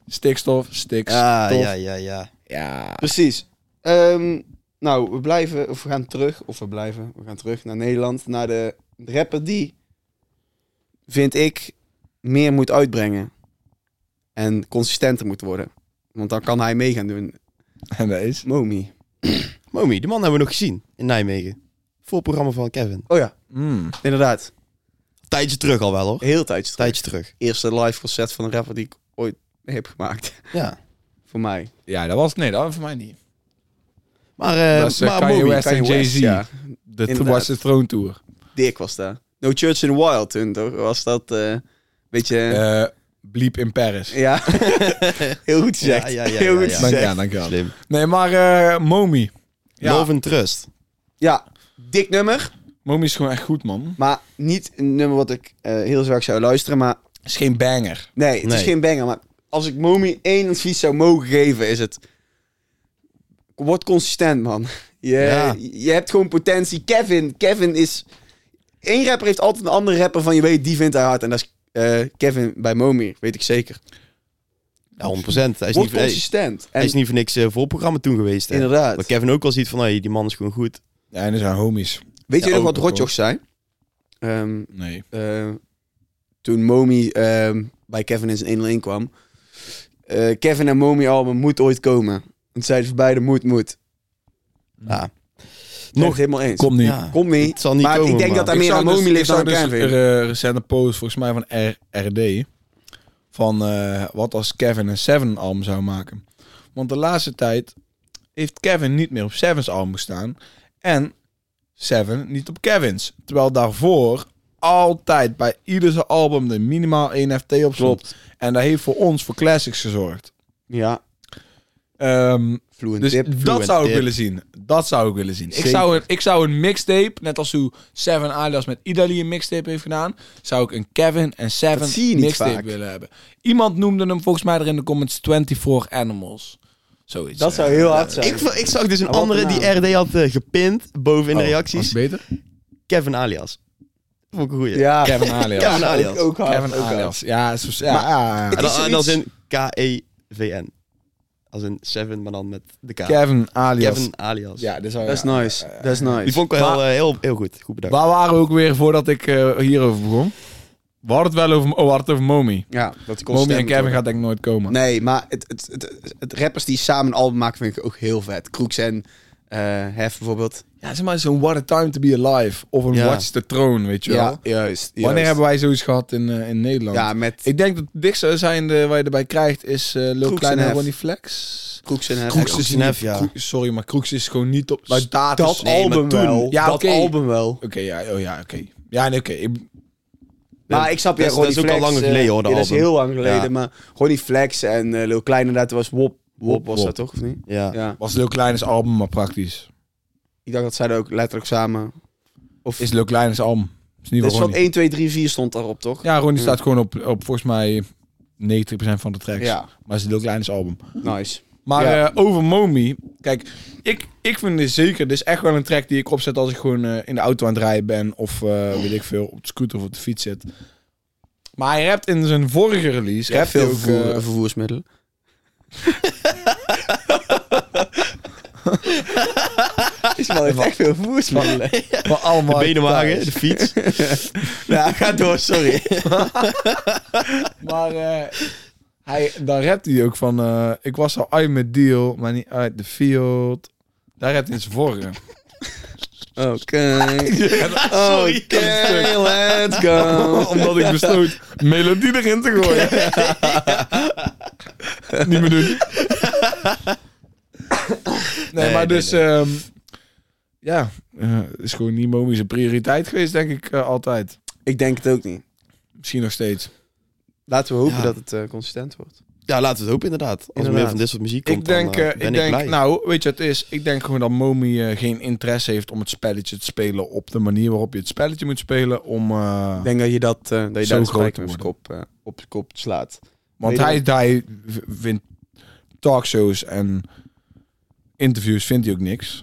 Stikstof, Stix,
Ja,
tof.
Ah, ja, ja, ja.
Ja.
Precies. Ehm, nou, we blijven, of we gaan terug, of we blijven, we gaan terug naar Nederland, naar de rapper die, vind ik, meer moet uitbrengen. En consistenter moet worden. Want dan kan hij mee gaan doen.
En dat is...
Momi.
Momi, de man hebben we nog gezien in Nijmegen. Voor het programma van Kevin.
Oh ja,
Mm.
inderdaad.
Tijdje terug al wel, hoor.
Heel tijd. Het
Tijdje terug.
eerste live concert van een rapper die ik ooit heb gemaakt. [laughs]
Ja.
Voor mij.
Ja, dat was... Nee, dat was voor mij niet.
Maar, eh
Dat is, eh,
maar
Kanye
Momi,
West en
Kanye
Jay-Z.
Ja,
Dat
Inderdaad.
was de Throne Tour.
Dirk was daar. No Church in the Wild toen, toch? Was dat eh, een beetje...
Eh Bliep in Paris.
[laughs]
Ja, heel goed gezegd.
Ja, ja, ja,
heel
ja,
goed
ja.
Dank,
gezegd.
ja,
Ja.
dankjewel.
Slim.
Nee, maar eh Momi. Ja.
Love and Trust.
dik nummer,
Momi is gewoon echt goed, man.
maar niet een nummer wat ik eh, heel vaak zou luisteren. Maar
Is geen banger.
nee, het is
Nee.
geen banger. Maar als ik Momi één advies zou mogen geven, is het... Word consistent, man. Je,
Ja.
je hebt gewoon potentie. Kevin, Kevin is... Eén rapper heeft altijd een andere rapper van je weet, die vindt hij hard. En dat is eh, Kevin bij Momi, weet ik zeker.
Ja, 100%. Hij is,
Word
niet, hij,
consistent.
hij
En
is niet voor niks eh, voor het programma toen geweest. Hè.
inderdaad.
Waar Kevin ook al ziet van, hey, die man is gewoon goed.
Ja, en er zijn homies.
Weet
Ja,
je nog
ook,
wat
ook,
rotjochs zijn? Ehm,
Nee.
eh, toen Momi ehm, bij Kevin in zijn 1-1 kwam. eh, Kevin en Momi album moet ooit komen. En toen zeiden ze beide moet, moet.
Ja.
Nog
Nog-
het helemaal eens.
Mm. Kom niet.
Ja.
Kom niet.
Het zal niet
maar
komen,
ik denk
maar-
dat daar
Ik
meer
zag
aan
dus-
Momi
ik
ligt
zag
dan
dus
Kevin.
een eh, recente post, volgens mij van R- RD. Van eh, wat als Kevin een Seven album zou maken. Want de laatste tijd heeft Kevin niet meer op Sevens album gestaan. En Seven niet op Kevins. Terwijl daarvoor altijd bij ieder zijn album er minimaal één FT op stond. En dat heeft voor ons voor classics gezorgd.
Ja,
Ehm,
fluent
dus
tip.
dat
fluent
zou ik
tip.
willen zien. Dat zou ik willen zien. Ik
Zeker.
zou, een, ik zou een mixtape, net als hoe Seven Alias met Idali een mixtape heeft gedaan, zou ik een Kevin en
Dat zie je
Seven
niet
mixtape
vaak.
willen hebben. Iemand noemde hem volgens mij er in de comments 24 Animals. Zoiets.
Dat
eh.
Oh,
zou heel hard zijn.
Ik, v- ik zag dus een
Maar wat
andere die
nou?
RD had eh, gepind boven in de
Oh, was
reacties.
het beter?
Kevin Alias. Vond ik een goeie.
ja,
[laughs] Kevin Alias.
Kevin Alias.
Ook, ook hard.
Kevin
ook hard.
Alias. Ja, zo, ja,
Maar-
ja, ja.
En dan, en dan
zoiets-
zijn K-E-V-N. Als een Seven, maar dan met de K.
Kevin Alias.
Kevin Alias.
E Ja, dat zou
Dat is
ja.
nice. Dat is nice.
Die vond ik wel heel, eh, heel, heel goed. Goed bedankt.
Waar waren we ook weer voordat ik eh, hierover begon? We hadden het wel over, oh, we hadden het over Momi.
Ja, dat kon
Momi en
stemmen,
Kevin
toch?
gaat denk ik nooit komen.
Nee, maar het, het, het, het rappers die samen een album maken vind ik ook heel vet. Kroeks en eh Hef bijvoorbeeld.
Ja, zeg maar zo'n What a Time to Be Alive of een
Ja.
Watch the Throne, weet je wel.
juist. juist.
Wanneer hebben wij zoiets gehad in, eh, in Nederland?
dus- Ja, met
Ik denk dat het dichtste zijnde waar je erbij krijgt is eh Lil
Kroeks
Kleine
en Hef.
Ronnie Flex.
Kroeks en Hef.
Kroeks is
niet-
Hef, ja.
Kroeks- sorry, maar Kroeks is gewoon niet op
Maar
status.
dat
Nee, maar
album
toen-
wel.
Ja,
dat
oké.
album wel.
Oké, ja, oh, ja oké. Ja, nee, oké. ik-
Maar ik snap, ja,
dat is- dat
Ronnie
is ook al
Flex,
langer
eh,
geleden, hoor, dat
ja, Dat is
album.
heel lang geleden,
Ja.
maar Ronnie Flex en eh Lil Klein inderdaad was Wop. Wop was
Wop.
dat toch, of niet?
Ja.
Ja.
Was Lil Kleine's album maar praktisch.
Ik dacht dat zij er ook letterlijk samen... Of,
Is Lil Kleine's album. Is niet wel
dus van
Ronnie.
1, 2, 3, 4 stond daarop, toch?
Ja, Ronnie
Ja.
staat gewoon op, op volgens mij 90% van de tracks.
Ja,
Maar het is Lil Kleine's album.
nice.
Maar
Ja.
eh, over Momi. Kijk, ik, ik vind dit zeker. Dit is echt wel een track die ik opzet als ik gewoon eh, in de auto aan het rijden ben. Of eh, weet ik veel, op de scooter of op de fiets zit. Maar hij rapt in zijn vorige release.
Ja,
rapt hij
veel
ook,
vervoer-
eh,
vervoersmiddelen. Ismael heeft echt veel vervoersmiddelen. [laughs]
maar allemaal
De benenwagen,
thuis.
de
[laughs]
fiets.
ja, ga door, sorry.
Maar eh, hij, dan rapt hij ook van... eh, ik was al uit mijn deal, maar niet uit de field. Daar rapt hij in zijn vorige.
Oké.
Sorry.
Oké, let's go.
[laughs] Omdat ik besloot melodie erin te [laughs] gooien. Niet meer doen. Nee,
Nee,
maar
nee,
dus... ehm, ja, eh, is gewoon niet Momi zijn prioriteit geweest, denk ik, eh, altijd.
Ik denk het ook niet.
Misschien nog steeds.
Laten we hopen
Ja.
dat het eh, consistent wordt.
Ja, laten we het hopen inderdaad. Als er meer
Inderdaad.
van dit soort muziek komt,
ik denk,
dan, eh,
eh,
ben
ik
ik
denk
blij.
nou, weet je wat het is? Ik denk gewoon dat Momi eh, geen interesse heeft om het spelletje te spelen op de manier waarop je het spelletje moet spelen. Om, eh,
Ik denk dat je dat, eh, dat je
Zo
daar de
groot
spijker op je
worden.
kop, eh, op je kop slaat.
want
weet
hij, hij v- vindt talkshows en interviews vindt hij ook niks.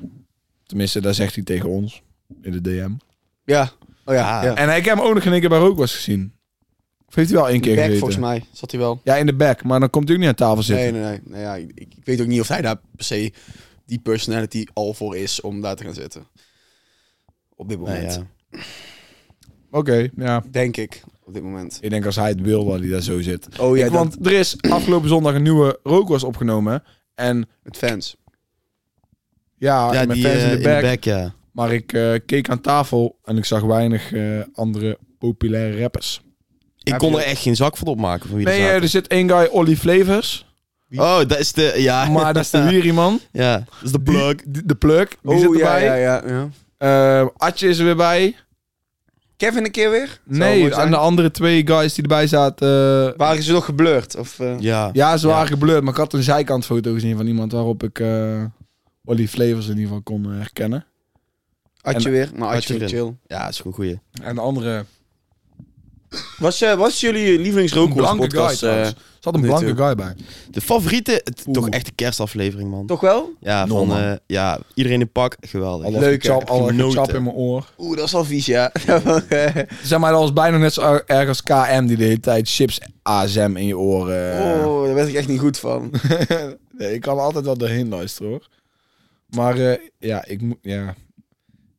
Tenminste, daar zegt hij tegen ons in de DM.
Ja. Oh ja.
Ah,
ja.
En ik heb hem ook nog in één keer bij Rookwas gezien. Of heeft hij wel één keer
Back,
gezeten?
volgens mij zat hij wel.
Ja, in de back. Maar dan komt hij ook niet aan tafel zitten.
Nee, nee, nee. Nou ja, ik, ik ik weet ook niet of hij daar per se die personality al voor is om daar te gaan zitten. Op dit
Nou
moment.
ja.
Oké, ja.
Denk ik. Op dit moment.
Ik denk als hij het wil, dat hij daar zo zit.
Oh ja, want
Want er is afgelopen zondag een nieuwe Rookwas opgenomen. En
met fans.
ja,
Ja,
met
die
fans
eh,
in, de back,
ja.
Maar ik eh, keek aan tafel en ik zag weinig eh, andere populaire rappers.
Ik
Heb
kon
je-
er echt geen zak van opmaken van wie
Nee,
er
eh,
zaten.
er zit één guy, Olly Flavors.
Oh, dat is de... Ja.
Maar dat is
[laughs]
de Wierieman.
ja. Dat is de
Die-
plug.
die- De plug. Die zit
Oh, ja,
erbij.
ja, ja, ja.
Eh, Atje is er weer bij.
Kevin een keer weer?
Nee, en de andere twee guys die erbij zaten... eh,
Waren ze nog geblurred? Of, eh?
Ja.
Ja, ze waren geblurred, maar ik had een zijkantfoto gezien van iemand waarop ik eh Olly Flavors in ieder geval kon eh, herkennen.
Atje
En-
weer, maar
Atje
Atje weer chill.
Ja, is gewoon goeie.
En de andere...
Was, eh, was jullie lievelingsrookworst
blanke guy
podcast? eh,
trouwens. Er zat een
dit,
blanke
eh,
guy bij.
De favoriete... het-
Oeh.
toch echt de kerstaflevering, man.
toch wel?
Ja, van...
Normaal.
eh, ja, iedereen in pak. Geweldig.
Alle
leuk, hè?
chap, alle
Genoten.
chap in mijn oor.
Oeh, dat eh, is al vies, ja. [laughs]
Zeg maar, dat was bijna net zo erg als KM die de hele tijd chips ASM in je oren... eh.
oh, daar werd ik echt niet goed van.
[laughs] nee, ik kan altijd wel doorheen luisteren hoor. Maar eh, ja, ik moet... Ja.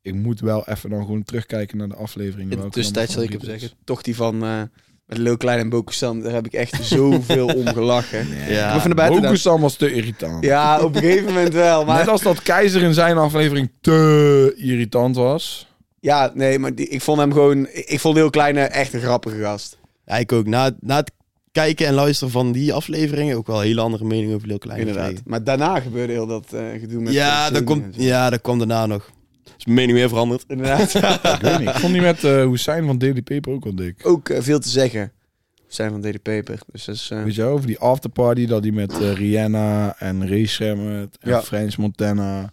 Ik moet wel even dan gewoon terugkijken naar de aflevering.
In de
welke
tussentijd zal
dan
ik
mijn
hem
favoriet
zeggen, toch die van eh met Lil Klein en Bokusam, daar heb ik echt zoveel om gelachen.
is.
Ja.
Maar van de
Ja,
buiten
Hokusam was te irritant.
Ja, op een gegeven moment wel. Maar
Net als dat Keizer in zijn aflevering te irritant was.
ja, nee, maar die, ik vond hem gewoon... Ik, ik vond Lil Klein eh, echt een grappige gast.
Ja, ik ook. Na, na het kijken en luisteren van die afleveringen... ook wel een hele andere mening over Lil Klein.
inderdaad.
gekregen.
Maar daarna gebeurde heel dat eh, gedoe met...
Ja,
dat
dat komt, ja, dat kwam daarna nog. Dus Is mijn mening weer veranderd.
Inderdaad. [laughs]
Ik weet niet. Ik vond die met eh Hussein van Daily Paper ook wel dik.
Ook eh, veel te zeggen. We zijn van DD Paper. Dus dat is... eh,
Weet je wel, over die afterparty dat hij met eh, Rihanna en Ray Shermet en
Ja.
French Montana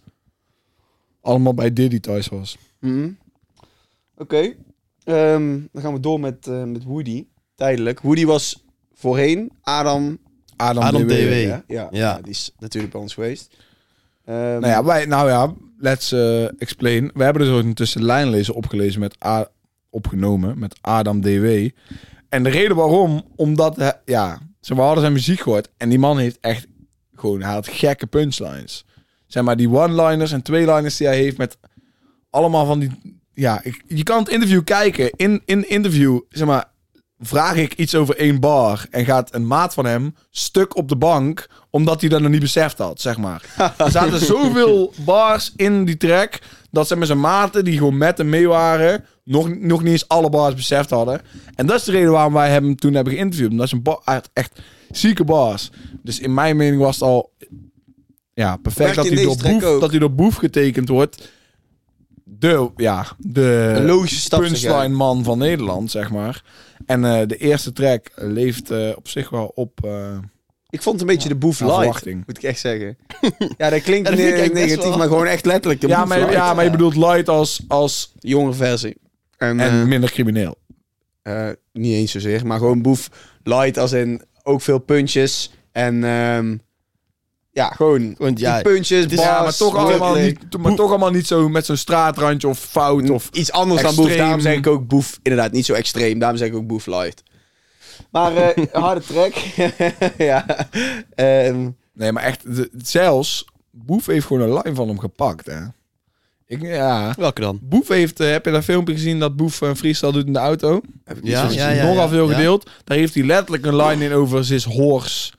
allemaal bij Diddy thuis was.
mhm. Oké. Ehm, dan gaan we door met, eh, met Woody. Tijdelijk. Woody was voorheen Adam.
Adam,
Adam
DW.
DW.
Ja, ja,
Ja.
Die is natuurlijk bij ons geweest. Ehm,
Nou ja, wij, nou ja, let's eh, explain. We hebben dus ook een tussenlijnlezer opgelezen met A, opgenomen met Adam DW. En de reden waarom, omdat hij- ja, ze hadden zijn muziek gehoord en die man heeft echt gewoon, hij had gekke punchlines. Zeg maar die one-liners en twee-liners die hij heeft met allemaal van die, ja, ik, je kan het interview kijken. In in interview, zeg maar, vraag ik iets over één bar en gaat een maat van hem stuk op de bank omdat hij dat nog niet beseft had, zeg
[laughs]
maar. Er zaten zoveel bars in die track dat ze met zijn maten die gewoon met hem mee waren nog, nog niet eens alle bars beseft hadden. En dat is de reden waarom wij hem toen hebben geïnterviewd. Omdat ze een bar, hij had echt zieke bars. Dus in mijn mening was het al ja, perfect
Merk
dat
je in
hij, door
deze track
boef,
ook?
dat hij door Boef getekend wordt. De, ja, de
eh,
een logische stap. zeg jij.
punchline man van Nederland, zeg maar. En eh, de eerste track leeft eh, op zich wel op eh,
Ik vond het een beetje de boef
naar
light.
verwachting.
Moet ik echt zeggen. ja, dat klinkt
Ja, dat vind ik
ne-
echt best
negatief,
wel.
maar gewoon echt letterlijk de
Ja
boef
maar,
light.
ja, maar je bedoelt light als, als
De jongere versie. En,
en
eh,
minder crimineel.
eh, niet eens zozeer, maar gewoon boef light als in ook veel puntjes. En ehm, ja, gewoon
Want ja,
die puntjes,
is-
bars,
ja, maar toch, allemaal
letterlijk.
niet, maar toch allemaal niet zo met zo'n straatrandje of fout. Of,
Iets anders dan boef.
extreem.
Daarom zeg ik ook boef. Inderdaad, niet zo extreem. Daarom zeg ik ook boef light. Maar eh, harde track. [laughs] ja. Ehm,
nee, maar echt, de- zelfs Boef heeft gewoon een line van hem gepakt. Hè. Ik, ja.
Welke dan?
Boef heeft, eh, heb je dat filmpje gezien dat Boef een freestyle doet in de auto?
heb ik niet
Ja,
zo-
Ja, ja, nogal veel gedeeld. Daar heeft hij letterlijk een line in over his horse.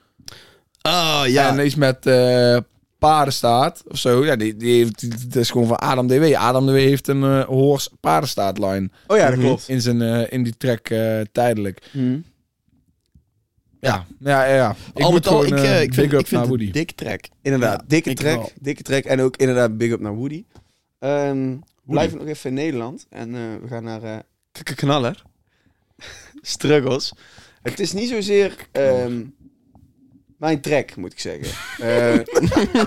Oh
Ja.
ja.
En iets met eh paardenstaart of zo. Ja, die, die heeft, die- dat is gewoon van Adam DW. Adam DW heeft een eh horse paardenstaart line
Oh ja, dat
Mhm.
klopt.
in, zijn, eh, in die track eh, tijdelijk.
Mhm.
Ja, ja, ja. ja.
al
moet
met al, ik,
gewoon,
eh,
eh,
ik vind,
big up
ik vind
naar
het
Woody.
een dik track.
Inderdaad,
Ja,
dikke
ik
track.
wel.
Dikke track. En ook inderdaad big up naar Woody. Ehm Blijven nog even in Nederland. En eh, we gaan naar eh, k- k- Knaller. Struggles. Het is niet zozeer ehm, mijn track, moet ik
[laughs]
zeggen. Eh,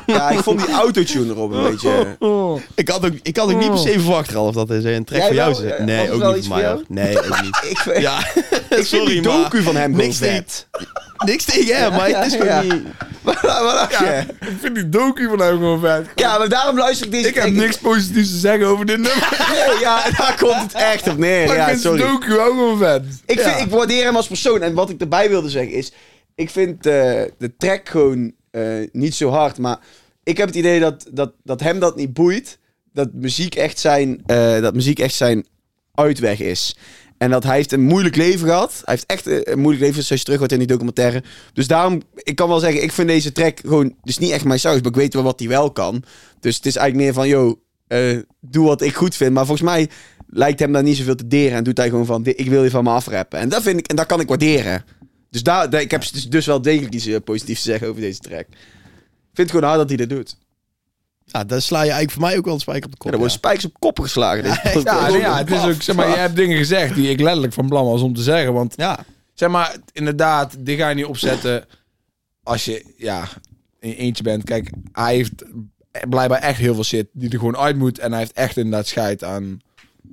ja, ik vond die autotune erop
Oh.
een beetje... eh,
Ik had ook, ik had ook niet per se verwacht, Ralf, dat hij een track
Jij
voor jou
wel?
zit.
Ja, was
Nee,
het
ook
wel
niet
iets
voor mij.
voor
hoor. Nee, ook
[laughs]
niet.
Ik, vind-
Ja, [laughs]
ik vind
sorry,
die
maar...
docu van hem gewoon
niks tegen-
vet.
Niks tegen hem, maar het is gewoon
ja.
niet...
Wat dacht je?
Ja, [laughs] ik vind die docu van hem gewoon vet.
Ja, maar daarom luister ik deze
Ik heb
track-
niks positiefs te zeggen over dit nummer.
Nee, [laughs] ja, daar komt het echt op neer.
maar ik
Ja,
vind
sorry.
die docu ook gewoon vet.
Ik,
Ja.
vind, ik waardeer hem als persoon. En wat ik erbij wilde zeggen is... Ik vind eh, de track gewoon eh, niet zo hard. Maar ik heb het idee dat, dat, dat hem dat niet boeit. Dat muziek, echt zijn, eh, dat muziek echt zijn uitweg is. En dat hij heeft een moeilijk leven gehad. Hij heeft echt eh, een moeilijk leven, zoals je terug hoort in die documentaire. Dus daarom, ik kan wel zeggen, ik vind deze track gewoon... Dus niet echt mijn saus, maar ik weet wel wat hij wel kan. Dus het is eigenlijk meer van, yo, eh, doe wat ik goed vind. Maar volgens mij lijkt hem daar niet zoveel te deren. En doet hij gewoon van, "Di- ik wil je van me afrappen. En dat vind ik, en dat kan ik waarderen. Dus daar, daar- ik heb dus, dus wel degelijk iets eh, positiefs te zeggen over deze track. Ik vind het gewoon hard dat hij dat doet.
Ja, daar sla je eigenlijk voor mij ook wel een spijker op de
Ja,
kop.
er worden spijkers op koppen geslagen. deze podcast.
[laughs] Ja, nou ja, het is ook, zeg maar, je hebt dingen gezegd die ik letterlijk van plan was om te zeggen. Want
ja.
Zeg maar, inderdaad, dit ga je niet opzetten als je ja, in je eentje bent. Kijk, hij heeft blijkbaar echt heel veel shit die er gewoon uit moet. En hij heeft echt inderdaad scheid aan...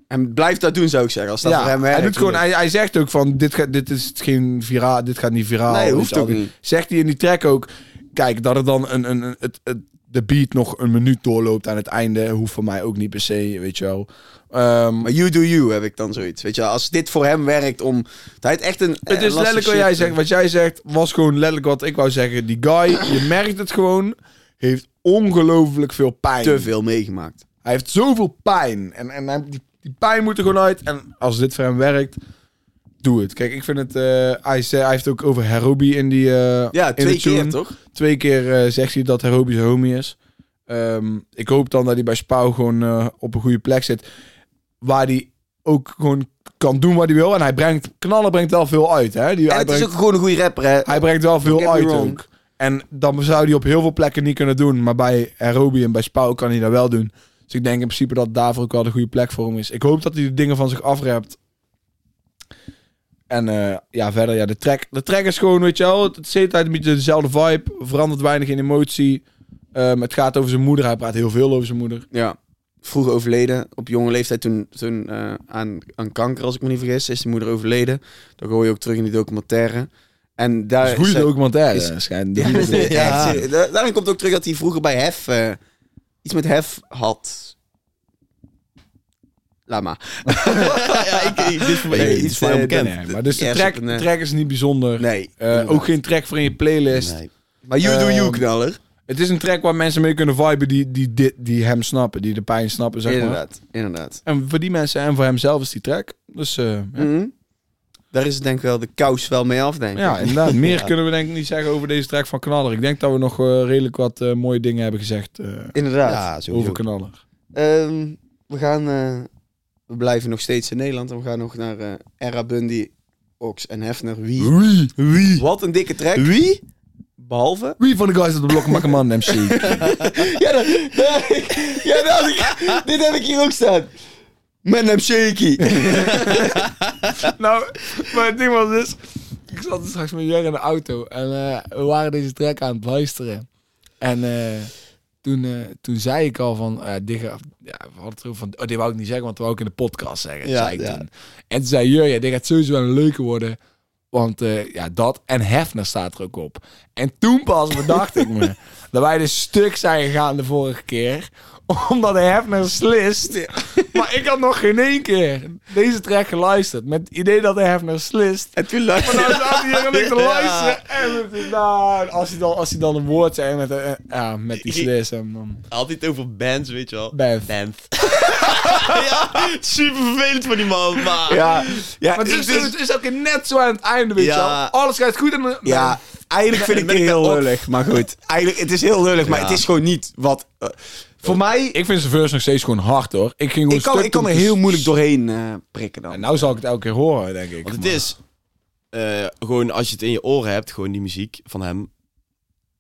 En blijf dat doen, zou ik zeggen. Als dat voor hem
hij,
werkt.
doet gewoon, hij, hij zegt ook van, dit, gaat dit, is geen vira, dit gaat niet viraal.
Nee,
Weet
hoeft
je wel.
ook niet.
Zegt hij in die track ook, kijk, dat er dan een, een, een- het, het, de beat nog een minuut doorloopt aan het einde... hoeft voor mij ook niet per se, weet je wel. Ehm,
Maar you do you, heb ik dan zoiets. Weet je, wel. als dit voor hem werkt om... Hij heeft echt een... eh,
Het is letterlijk wat jij zegt. Wat jij zegt was gewoon letterlijk wat ik wou zeggen. Die guy, je merkt het gewoon, heeft ongelooflijk veel pijn.
Te veel meegemaakt.
Hij heeft zoveel pijn. En, en hij- die, die pijn moet er gewoon uit. En als dit voor hem werkt, doe het. Kijk, ik vind het... eh, hij, zei, hij heeft ook over Herobi in die... eh,
Ja,
in
twee
de tune.
keer toch?
Twee keer eh, zegt hij dat Herobi zijn homie is. Ehm, ik hoop dan dat hij bij Spouw gewoon eh, op een goede plek zit. Waar hij ook gewoon kan doen wat hij wil. En hij brengt... Knallen brengt wel veel uit, hè? Die,
En
hij
het
brengt-
is ook gewoon een goede rapper, hè?
hij brengt wel
Don't
veel
get me
uit
wrong.
ook. En dan zou hij op heel veel plekken niet kunnen doen. Maar bij Aerobi en bij Spouw kan hij dat wel doen. Dus ik denk in principe dat daarvoor ook wel de goede plek voor hem is. Ik hoop dat hij de dingen van zich afrept. En eh, ja, verder, ja, de track, de track is gewoon, weet je wel, het is de hele tijd een beetje dezelfde vibe. Verandert weinig in emotie. Ehm, het gaat over zijn moeder. Hij praat heel veel over zijn moeder.
Ja. Vroeg overleden. Op jonge leeftijd toen, toen eh, aan, aan kanker, als ik me niet vergis, is die moeder overleden. Dat hoor je ook terug in die documentaire. En daar
Het is een goede
zij-
documentaire.
is-
schijnt.
[laughs] Ja, dat is
Ja.
echt serieus. Da- Daarin komt ook terug dat hij vroeger bij Hef eh, iets met Hef had. Laat maar.
[laughs] ja, ik, ik- dit is voor mij
Nee,
iets
iets,
voor mij
eh,
onbekend.
Nee, maar dus de
Ja, is
track,
op een,
de
eh,
track is niet bijzonder.
Nee.
Eh, ook geen track voor in je playlist.
Nee.
Maar You Do You,
Ehm,
knaller.
Het is een track waar mensen mee kunnen viben die, die, dit die hem snappen, die de pijn snappen, zeg maar.
Inderdaad, inderdaad.
En voor die mensen en voor hemzelf is die track. Dus eh, ja.
Mhm. Daar is het denk ik wel de kous wel mee af, denk ik.
[laughs] ja, inderdaad. Meer
Ja.
kunnen we denk ik niet zeggen over deze track van Knaller. Ik denk dat we nog eh, redelijk wat eh, mooie dingen hebben gezegd eh,
Inderdaad.
Ja, sowieso.
over Knaller.
Ehm, we gaan... eh, we blijven nog steeds in Nederland. En we gaan nog naar eh Era Bundy, Ox en Hefner. Wie?
Wie?
Wie?
Wat een dikke track.
Wie?
Behalve...
Wie van de guys op de blok maakt een man MC?
[laughs] ja, dat, [laughs] ja dat had ik, [laughs] dit heb ik hier ook staan. Mijn naam Shaky.
[laughs] nou, maar het ding was dus... Ik zat straks met Jurgen in de auto en eh, we waren deze track aan het luisteren. En eh, toen, eh, toen zei ik al van... eh dit, gaat- ja, we hadden het erover van... Oh, dit wou ik niet zeggen, want dat wou ik in de podcast zeggen.
Ja,
zei ik
ja.
toen. En toen zei Jurgen, dit gaat sowieso wel een leuke worden. Want eh, ja, dat en Hefner staat er ook op. En toen pas bedacht ik
[laughs]
me dat wij dus stuk zijn gegaan de vorige keer. [laughs] Omdat Hefner slist. Maar ik had nog geen één keer deze track geluisterd. Met het idee dat Hefner slist.
En toen luisterde
Nou zaten hier en ik te
Ja.
luisteren. En het, nou, als, hij dan, als hij dan een woord zei met, eh, eh, ja, met die slis. En um, dan
Altijd over bands, weet je wel.
Bands.
[laughs] ja, super vervelend voor die man,
[laughs]
maar...
Ja, ja,
Maar het is,
ik- dus-
het is ook net zo aan het einde, weet je
Ja.
wel. Alles gaat goed en dan...
ja, eigenlijk vind ik het heel lullig. Maar goed, eigenlijk, het is heel lullig, maar
Ja.
het is gewoon niet wat... eh, voor mij, ik,
Ik vind zijn verse nog steeds gewoon hard, hoor. Ik, ging gewoon
kan,
stuk
ik kan
toen
er
ik-
heel moeilijk doorheen eh, prikken
En
dan.
nou zal ik het elke keer horen, denk ik.
Want het
Maar-
is... eh, gewoon als je het in je oren hebt, gewoon die muziek van hem.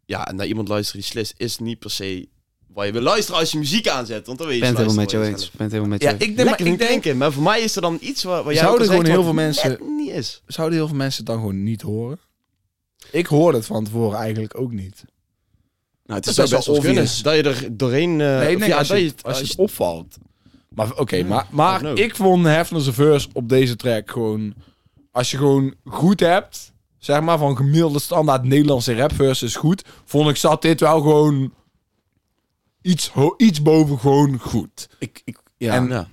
Ja, en naar iemand luisteren die slist is niet per se waar je wil luisteren als je muziek aanzet. Want dan weet je
het helemaal met jou
luisteren
eens.
waarschijnlijk.
ben het helemaal met
Ja,
jou
ik
eens.
denk,
Lekker
maar, ik
niet
denk,
denken, maar voor mij is er dan iets waar, waar jij
Zouden
ook al
gewoon
zegt
heel
wat
veel
net
mensen-
niet is.
zouden heel veel mensen het dan gewoon niet horen? Ik hoorde het van tevoren eigenlijk ook niet.
Nou, het
Dat
is
zou
best
best
wel
wel kunnen.
obvious.
Dat je er doorheen... eh,
Nee,
of
nee,
ja,
als,
dat
je,
je het-
als,
als
je het opvalt. Maar oké, maar, maar
know.
ik vond Hefner's verse op deze track gewoon... Als je gewoon goed hebt, zeg maar, van gemiddelde standaard Nederlandse rap versus goed... Vond ik, zat dit wel gewoon iets, ho- iets boven gewoon goed.
Ik, ik, ja.
En-
je- Ja.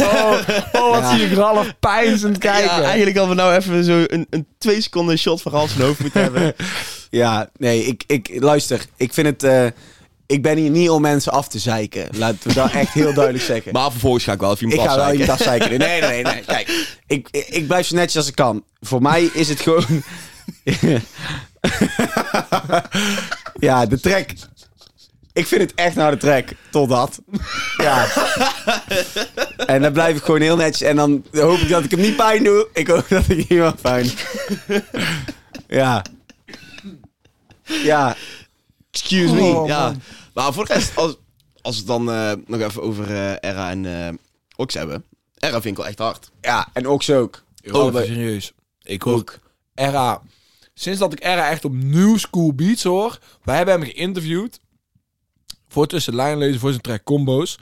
Oh, oh wat zie ik Ralf pijnzend kijken.
Ja, eigenlijk hadden we nou even zo een, een twee seconden shot van Ralf zijn hoofd [laughs] moeten hebben.
Ja, nee, ik, ik luister. Ik vind het. eh, ik ben hier niet om mensen af te zeiken. Laten we dat echt heel duidelijk zeggen.
Maar vervolgens ga ik wel even
ik
iemand
ga wel
afzeiken.
iemand afzeiken. [laughs] Nee, nee, nee. Kijk, ik, ik, ik blijf zo netjes als ik kan. Voor mij is het gewoon. [laughs] ja, de track. Ik vind het echt nou de track. Totdat. Ja. En dan blijf ik gewoon heel netjes. En dan hoop ik dat ik hem niet pijn doe. Ik hoop dat ik niemand pijn doe. Ja. Ja.
Excuse me.
Oh,
ja.
man.
Maar voor de rest, als, als we het dan eh, nog even over eh Era en eh Ox hebben. Era vind ik wel echt hard.
Ja, en Ox ook.
Yo,
Oh,
even
we-
serieus. Ik ook. Era. Sinds dat ik Era echt op New School Beats hoor. Wij hebben hem geïnterviewd. Voor tussen lijnlezen, voor zijn track Combo's.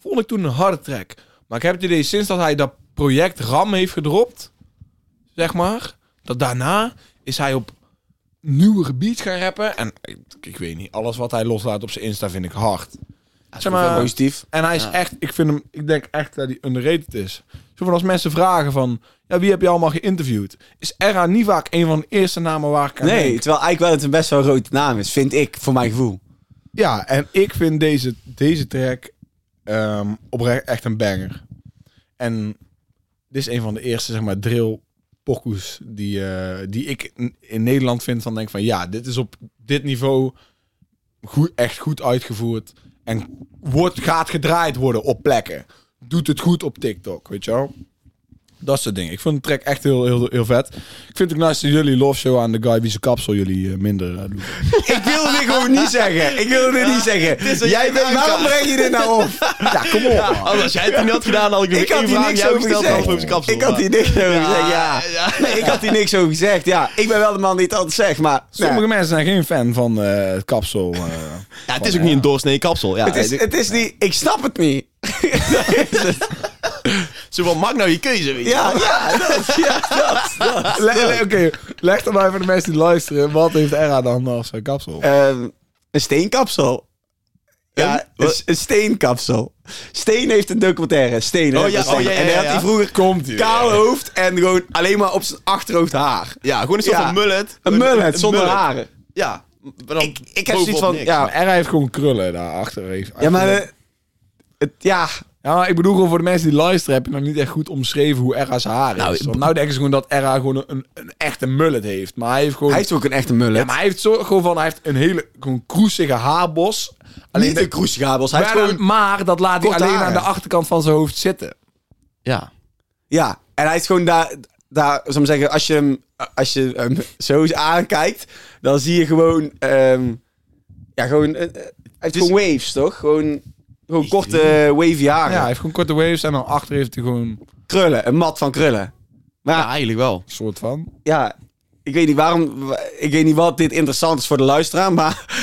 Vond ik toen een harde track. Maar ik heb het idee, sinds dat hij dat project RAM heeft gedropt. Zeg maar. Dat daarna is hij op nieuwere beats gaan rappen. En ik, ik weet niet, alles wat hij loslaat op zijn Insta vind ik hard. Zeg maar-
Positief.
En hij is echt, ik vind hem, ik denk echt dat hij underrated is. Zo van als mensen vragen van, ja, wie heb je allemaal geïnterviewd? Is Era niet vaak een van de eerste namen waar ik aan
Nee,
denk?
terwijl eigenlijk wel het een best wel grote naam is, vind ik, voor mijn
[laughs]
gevoel.
Ja, en ik vind deze, deze track ehm, oprecht echt een banger. En dit is een van de eerste, zeg maar, drill pokoes die, eh, die ik in, in Nederland vind. Dan denk ik van, ja, dit is op dit niveau goed, echt goed uitgevoerd. En wordt, gaat gedraaid worden op plekken. Doet het goed op TikTok, weet je wel? dat soort dingen. Ik vond de track echt heel, heel, heel vet. Ik vind het ook nice dat jullie love show aan de guy wie zijn kapsel jullie eh, minder eh, doen.
Ik wil dit gewoon niet zeggen. Ik wil dit niet zeggen.
wat
Jij
je
bent,
maakt,
waarom
ja.
breng je dit
[laughs]
nou op? Ja, kom op. man.
Oh, als jij het niet had gedaan, had ik nog
Ik had
één
hier
vraag aan
niks
jou
over
gesteld. dan
gezegd.
over zijn kapsel. Ah,
Ik had hier niks over gezegd, ja. Nee, ik had hier niks over gezegd, ja. Ik ben wel de man die het altijd zegt, maar...
Sommige
nee.
mensen zijn geen fan van eh, het kapsel. eh.
[laughs]
Ja, het is ook niet een doorsnee kapsel. Ja,
Het is, het is niet... Ik snap het
[laughs]
niet.
Zo van, maak nou je keuze, weet je.
Ja, ja, dat, ja, dat, dat.
Le- le- Oké, leg dan maar voor de mensen die luisteren. Wat heeft Era dan als zijn kapsel?
Ehm, een steenkapsel. Ja,
Een?
een, een steenkapsel. Steen heeft een documentaire. Steen, hè,
Oh, ja,
van Steen.
oh, ja, ja,
En hij had
ja.
die vroeger
Komt ie.
kaal hoofd en gewoon alleen maar op zijn achterhoofd haar.
Ja, gewoon een soort
Ja.
van mullet.
Een mullet zonder
mullet.
haren.
Ja. maar dan
Ik, ik heb
bovenop
zoiets van,
niks.
ja,
Maar Era Nou, heeft gewoon krullen daarachter. Heeft-
ja, maar... eh, het, ja,
Ja, maar ik bedoel gewoon voor de mensen die luisteren, heb je nog niet echt goed omschreven hoe Era's haar
Nou,
is.
ik-
Want nou denken ze gewoon dat Era gewoon een, een echte mullet heeft. Maar hij heeft gewoon...
hij is ook een echte mullet.
ja, maar hij heeft zo, gewoon van, hij heeft een hele gewoon kroesige haarbos. Alleen
Niet
de-
een kroesgabels. Hij heeft
maar,
gewoon...
maar dat laat hij
korte
alleen
haren. Ah,
aan de achterkant van zijn hoofd zitten.
Ja.
Ja, en hij is gewoon daar... daar zal ik maar zeggen, als je hem, als je hem zo eens aankijkt, dan zie je gewoon... ehm, ja, gewoon... eh, eh, hij heeft gewoon waves, toch? Gewoon, gewoon korte eh, wavy
Ja, hij
haren.
heeft gewoon korte waves en dan achter heeft hij gewoon een
Krullen, een mat van krullen. Maar
ja, eigenlijk wel.
soort van...
ja, ik weet niet waarom... wa- Ik weet niet wat dit interessant is voor de luisteraar,
[laughs]
maar...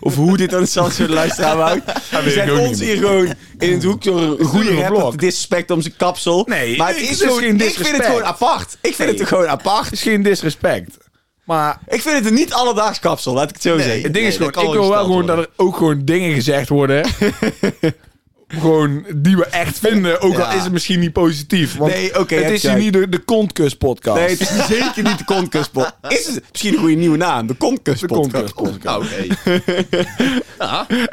of hoe dit interessant is voor de luisteraar, maar... We
weet ik ook
zetten ons
niet.
hier gewoon in het hoek door een goede
een
rapper
blok.
te disrespecten om zijn kapsel.
Nee,
maar het
ik-
is,
het is
gewoon-
geen
Ik vind het
disrespect.
gewoon apart. Ik vind het gewoon apart.
Het is geen disrespect. Maar
Ik vind het een niet alledaags kapsel, laat ik het zo zeggen.
Het ding is
Nee,
gewoon,
dat kan
ik
wel
wil wel
gesteld
gewoon dat er ook gewoon dingen gezegd
[laughs]
worden. gewoon die we echt vinden. Ook
Ja.
al is het misschien niet positief. Want
Nee, oké,
het
heb
is hier
jij.
niet de, de kontkus podcast.
Nee, het is zeker niet de kontkuspel. Is het misschien een goede nieuwe naam? De kontkuspel.
Kontkus podcast.
Nou, oké.
[laughs]
[laughs]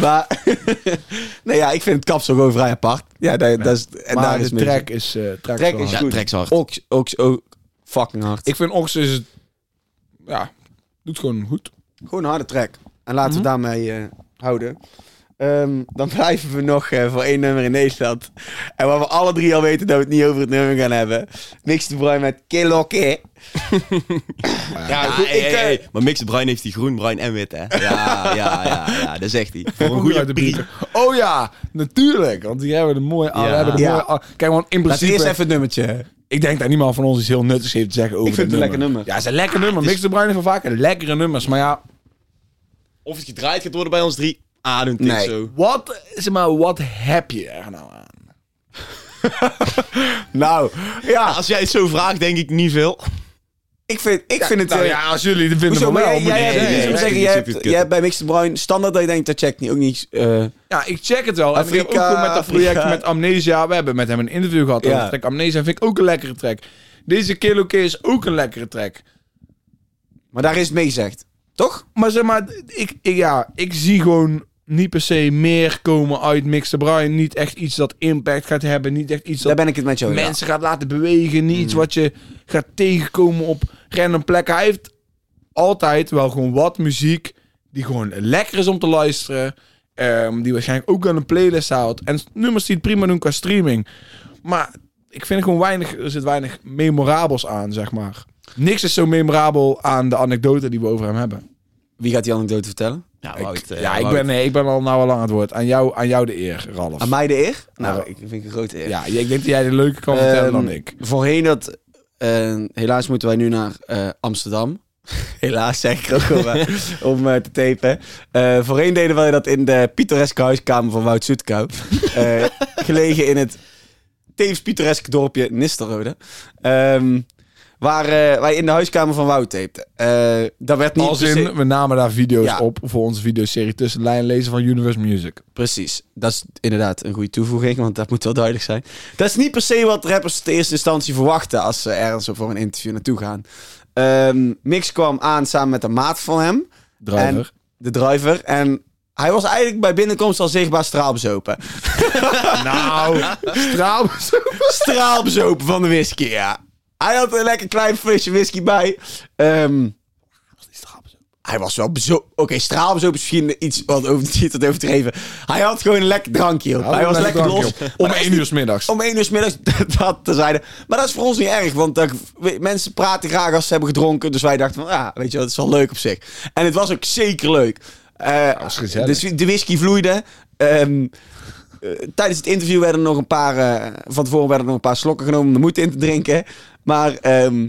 Maar, [laughs] nee ja, ik vind het kapsel gewoon vrij apart. Ja, daar, daar is, en
maar
daar
de
is mee.
track is, eh track
Track
is wel hard.
is
Ja,
goed.
track is hard.
Ook, ook, ook fucking hard.
Ik vind Ox is het... Ja, doet gewoon goed.
gewoon een harde track. En laten we daarmee eh, houden. Ehm, dan [laughs] blijven we nog eh, voor één nummer in Nederland. En waar we alle drie al weten dat we het niet over het nummer gaan hebben. Mix de Bruin met Keloke.
Ja,
goed,
hey,
ik,
hey,
eh,
hey. Maar Mix de Bruin heeft die groen, bruin en wit, hè? Ja, ja, ja, ja dat zegt hij. Voor een
Ook
goede
uit de
prijs.
buurt. Oh ja, natuurlijk. Want hier hebben we de mooie...
Ja.
We hebben de
Ja.
mooie ah, kijk, want in
Laten
principe...
we eerst even het nummertje.
Ik denk dat niemand van ons iets heel nuttigs heeft te zeggen over
Ik vind
dit
het een lekker nummer.
Ja, het is een lekker nummer. Mix de Bruin heeft wel vaker lekkere nummers. Maar ja,
Of het gedraaid gaat worden bij ons drie. Ah, don't think
Nee.
so.
Wat, zeg maar, wat heb je er nou aan?
Nou, ja.
Als jij het zo vraagt, denk ik niet veel.
Ik vind, ik vind het...
nou
eh,
ja, als jullie het vinden
hoezo,
van
maar
wel,
jij,
moet
jij
ik-
hebt-
nee,
ik zou
nee,
maar
nee,
zeggen,
nee,
jij
nee,
hebt,
nee,
jij hebt bij Mix de Bruin standaard dat je denkt, dat checkt niet. Ook niet... eh,
Ja, ik check het wel. En ik heb
Afrika,
ook gewoon met dat project
Afrika.
met Amnesia, we hebben met hem een interview gehad over
Ja.
de track Amnesia, vind ik ook een lekkere track. Deze Kilo K is ook een lekkere track.
maar daar is mee gezegd. Toch?
Maar zeg maar, ik, ik, ja, ik zie gewoon niet per se meer komen uit Mix de Brian. Niet echt iets dat impact gaat hebben, niet echt iets
Daar
dat
ben ik het met jou over.
mensen gaat laten bewegen. Niet iets
Mm.
wat je gaat tegenkomen op random plekken. Hij heeft altijd wel gewoon wat muziek die gewoon lekker is om te luisteren. ehm, die waarschijnlijk ook aan een playlist houdt. En nummers die het prima doen qua streaming. Maar ik vind gewoon weinig, er zit weinig memorabels aan, zeg maar. Niks is zo memorabel aan de anekdote die we over hem hebben.
Wie gaat die anekdote vertellen?
Ja,
ik,
eh,
ja, ik, ben, nee, ik ben al nou al lang aan het woord. Aan jou, aan jou de eer, Ralf.
Aan mij de eer? Nou,
Nou,
ik vind het een grote eer.
ja, ik denk dat jij de leuke kan vertellen dan
Ehm,
ik.
Voorheen dat... eh, helaas moeten wij nu naar eh, Amsterdam. [laughs] helaas zeg ik ook om,
[laughs]
eh, om eh, te tapen. Eh, voorheen deden wij dat in de pittoreske huiskamer van Wout Zoetkou.
[laughs]
Eh, gelegen in het tevens pittoreske dorpje Nistelrode. Ehm, waar eh, wij in de huiskamer van Wout tapten. Eh dat werd niet
Als
per se-
in, we namen daar video's
Ja.
op voor onze videoserie Tussen de Lijn Lezen van Universe Music.
Precies. Dat is inderdaad een goede toevoeging, want dat moet wel duidelijk zijn. Dat is niet per se wat rappers in eerste instantie verwachten als ze ergens voor een interview naartoe gaan. Ehm, Mix kwam aan samen met een maat van hem,
Driver.
de driver. En hij was eigenlijk bij binnenkomst al
[laughs]
zichtbaar straalbezopen.
Nou, trouwens.
straalbezopen van de whisky, ja. Hij had een lekker klein flesje whisky bij. Ehm, Hij was wel bezo... Oké, straalbezopen is misschien iets wat over, [laughs] niet wat overdreven. Hij had gewoon een lekker drankje op.
Hou
hij was
een lekker
lekker los.
drankje op. Om
Maar dat is
één uur 's middags.
Om één uur 's middags, [laughs] dat te zeiden. Maar dat is voor ons niet erg, want dat- we- mensen praten graag als ze hebben gedronken. Dus wij dachten van, ja, weet je, wel, dat is wel leuk op zich. En het was ook zeker leuk. Eh,
was gezellig.
dus de whisky vloeide. Ehm, eh, tijdens het interview werden er nog een paar... eh, van tevoren werden er nog een paar slokken genomen om de moed in te drinken. Maar ehm,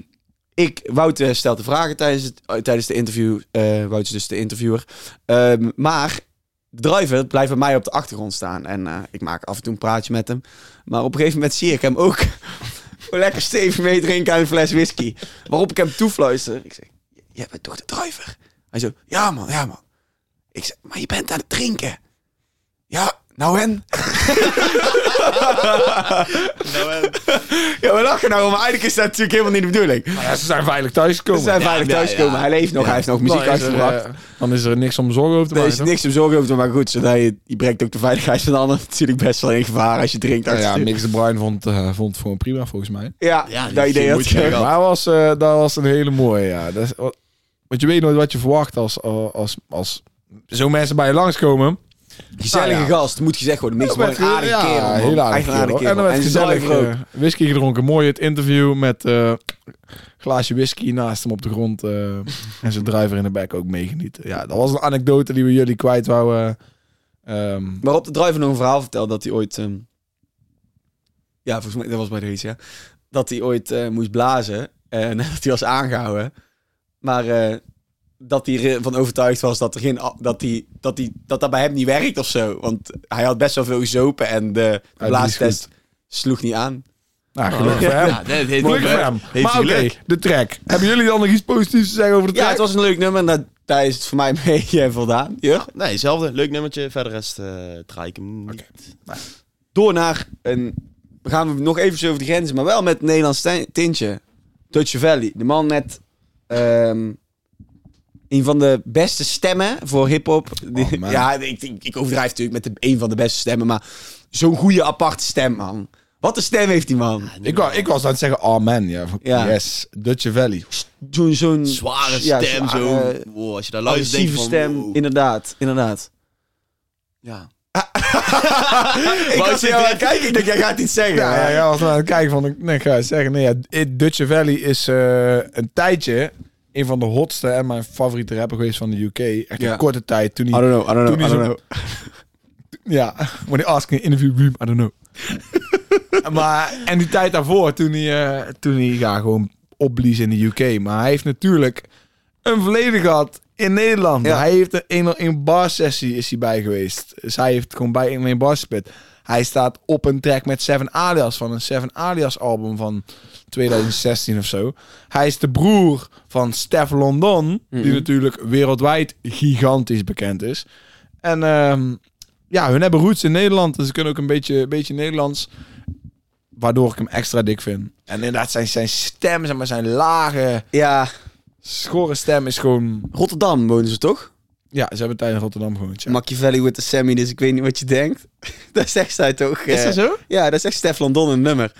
ik, Wouter stelt de vragen tijdens, het, eh, tijdens de interview. eh Wouter is dus de interviewer. Ehm, maar de driver blijft bij mij op de achtergrond staan. En eh, ik maak af en toe een praatje met hem. Maar op een gegeven moment zie ik hem ook [laughs] lekker stevig meedrinken aan een fles whisky. Waarop ik hem toefluister. Ik zeg, jij bent toch de driver? Hij zo, ja man, ja man. Ik zeg, maar je bent aan het drinken. Ja, nou en? [laughs] Nou, eh,
[laughs]
Ja, we lachen nou, maar eigenlijk is dat natuurlijk helemaal niet de bedoeling.
Ja, ze zijn veilig thuisgekomen.
Ze zijn veilig
ja,
thuisgekomen.
ja.
Hij leeft nog, hij heeft nog muziek
Dan is er,
uitgebracht.
eh, dan is er niks om zorgen over te
Er
maken.
is niks om zorgen over te maken. Goed, zodat je, je brengt ook de veiligheid van de ander [laughs] natuurlijk best wel in gevaar als je drinkt.
toch?
achter
Ja,
het
ja,
stuur.
Mix de Bruin vond, eh, vond het gewoon prima volgens mij.
ja,
Ja,
dat
dus
je
idee had
moet
ik.
je
ook.
wel.
Maar was, eh, dat was een hele mooie, ja. Dat is, wat- want je weet nooit wat je verwacht als, als, als, als zo'n mensen bij je langskomen.
Gezellige
Nou ja.
gast, moet gezegd worden. Mix
Dan
maar
werd
een aardige
ge- ja,
kerel. man.
heel
Echt
aardige
een
kerel.
aardige kerel.
En dan werd gezellig
zuiver ook.
eh, whisky gedronken. Mooi het interview met eh glaasje whisky naast hem op de grond. eh, en zijn driver in de back ook meegenieten. Ja, dat was een anekdote die we jullie kwijt wouden. Ehm,
Waarop de driver nog een verhaal vertelde dat hij ooit... ehm, ja, volgens mij, dat was bij deze, ja. Dat hij ooit eh, moest blazen. En [laughs] dat hij was aangehouden. Maar eh, dat hij ervan overtuigd was dat, er geen, a- dat, hij, dat, hij, dat dat bij hem niet werkt of zo. Want hij had best wel veel gezopen en
die
de, de
is
blaastest sloeg niet aan.
nou, gelukkig
Oh. Ja.
voor hem.
Ja, dat heeft
Gelukkig voor hem.
Heeft
maar
hij
oké,
geluk.
de track. Hebben jullie dan nog iets positiefs te zeggen over de track?
Ja, het was een leuk nummer. En dat, daar is het voor mij [laughs] mee eh, voldaan. Ja.
Nee, hetzelfde. Leuk nummertje. Verder rest eh draai ik hem niet.
Door naar een... We gaan nog even over de grenzen, maar wel met een Nederlands tij- tintje. Dutch Valley. De man met ehm, een van de beste stemmen voor hip-hop. Die-
Oh, man.
ja, ik, ik, ik overdrijf natuurlijk met de, een van de beste stemmen, maar zo'n goede aparte stem, man. Wat een stem heeft die man.
Ik, wou- ik was aan het zeggen, oh man, ja. van-
Ja.
Yes, Dutch Valley.
Zo'n zo'n
Zware
ja,
stem
zware,
zo.
eh,
Wow, als je daar luistert, denk je
Agressieve
van...
stem,
wow.
inderdaad, inderdaad. [laughs]
Ja.
Ik was
zit
jou aan
er-
het kijken, ik denk, jij gaat iets zeggen.
Ja, ja, jij was nou aan het kijken van, nee, ik ga het zeggen. Nee, ja, it- Dutch Valley is eh, een tijdje een van de hotste en mijn favoriete rapper geweest van de UK. Echt
Ja.
een korte tijd toen
I
hij...
don't know, I don't
Toen
know, I
hij
don't
zo-
know.
Ja, when they ask in an interview room, I don't know. maar, en die tijd daarvoor, toen hij, eh, toen hij ja, gewoon opbliezen in de UK. Maar hij heeft natuurlijk een verleden gehad in Nederland.
Ja.
Hij heeft een 101 bar sessie is hij bij geweest. Dus hij heeft gewoon bij 101 bar gespeeld. Hij staat op een track met Seven Alias van een Seven Alias album van 2016 of zo. Hij is de broer van Stef London, die natuurlijk wereldwijd gigantisch bekend is. En ehm, ja, hun hebben roots in Nederland, dus ze kunnen ook een beetje, een beetje Nederlands. Waardoor ik hem extra dik vind. En inderdaad, zijn, zijn stem, zeg maar, zijn lage,
Ja,
schorre stem is gewoon...
Rotterdam wonen ze toch?
Ja, ze hebben tijdens Rotterdam gewoond, ja.
Machiavelli with the Sammy, dus ik weet niet wat je denkt. [laughs] dat zegt zij toch? eh,
zo?
Ja, dat zegt Stef London een nummer.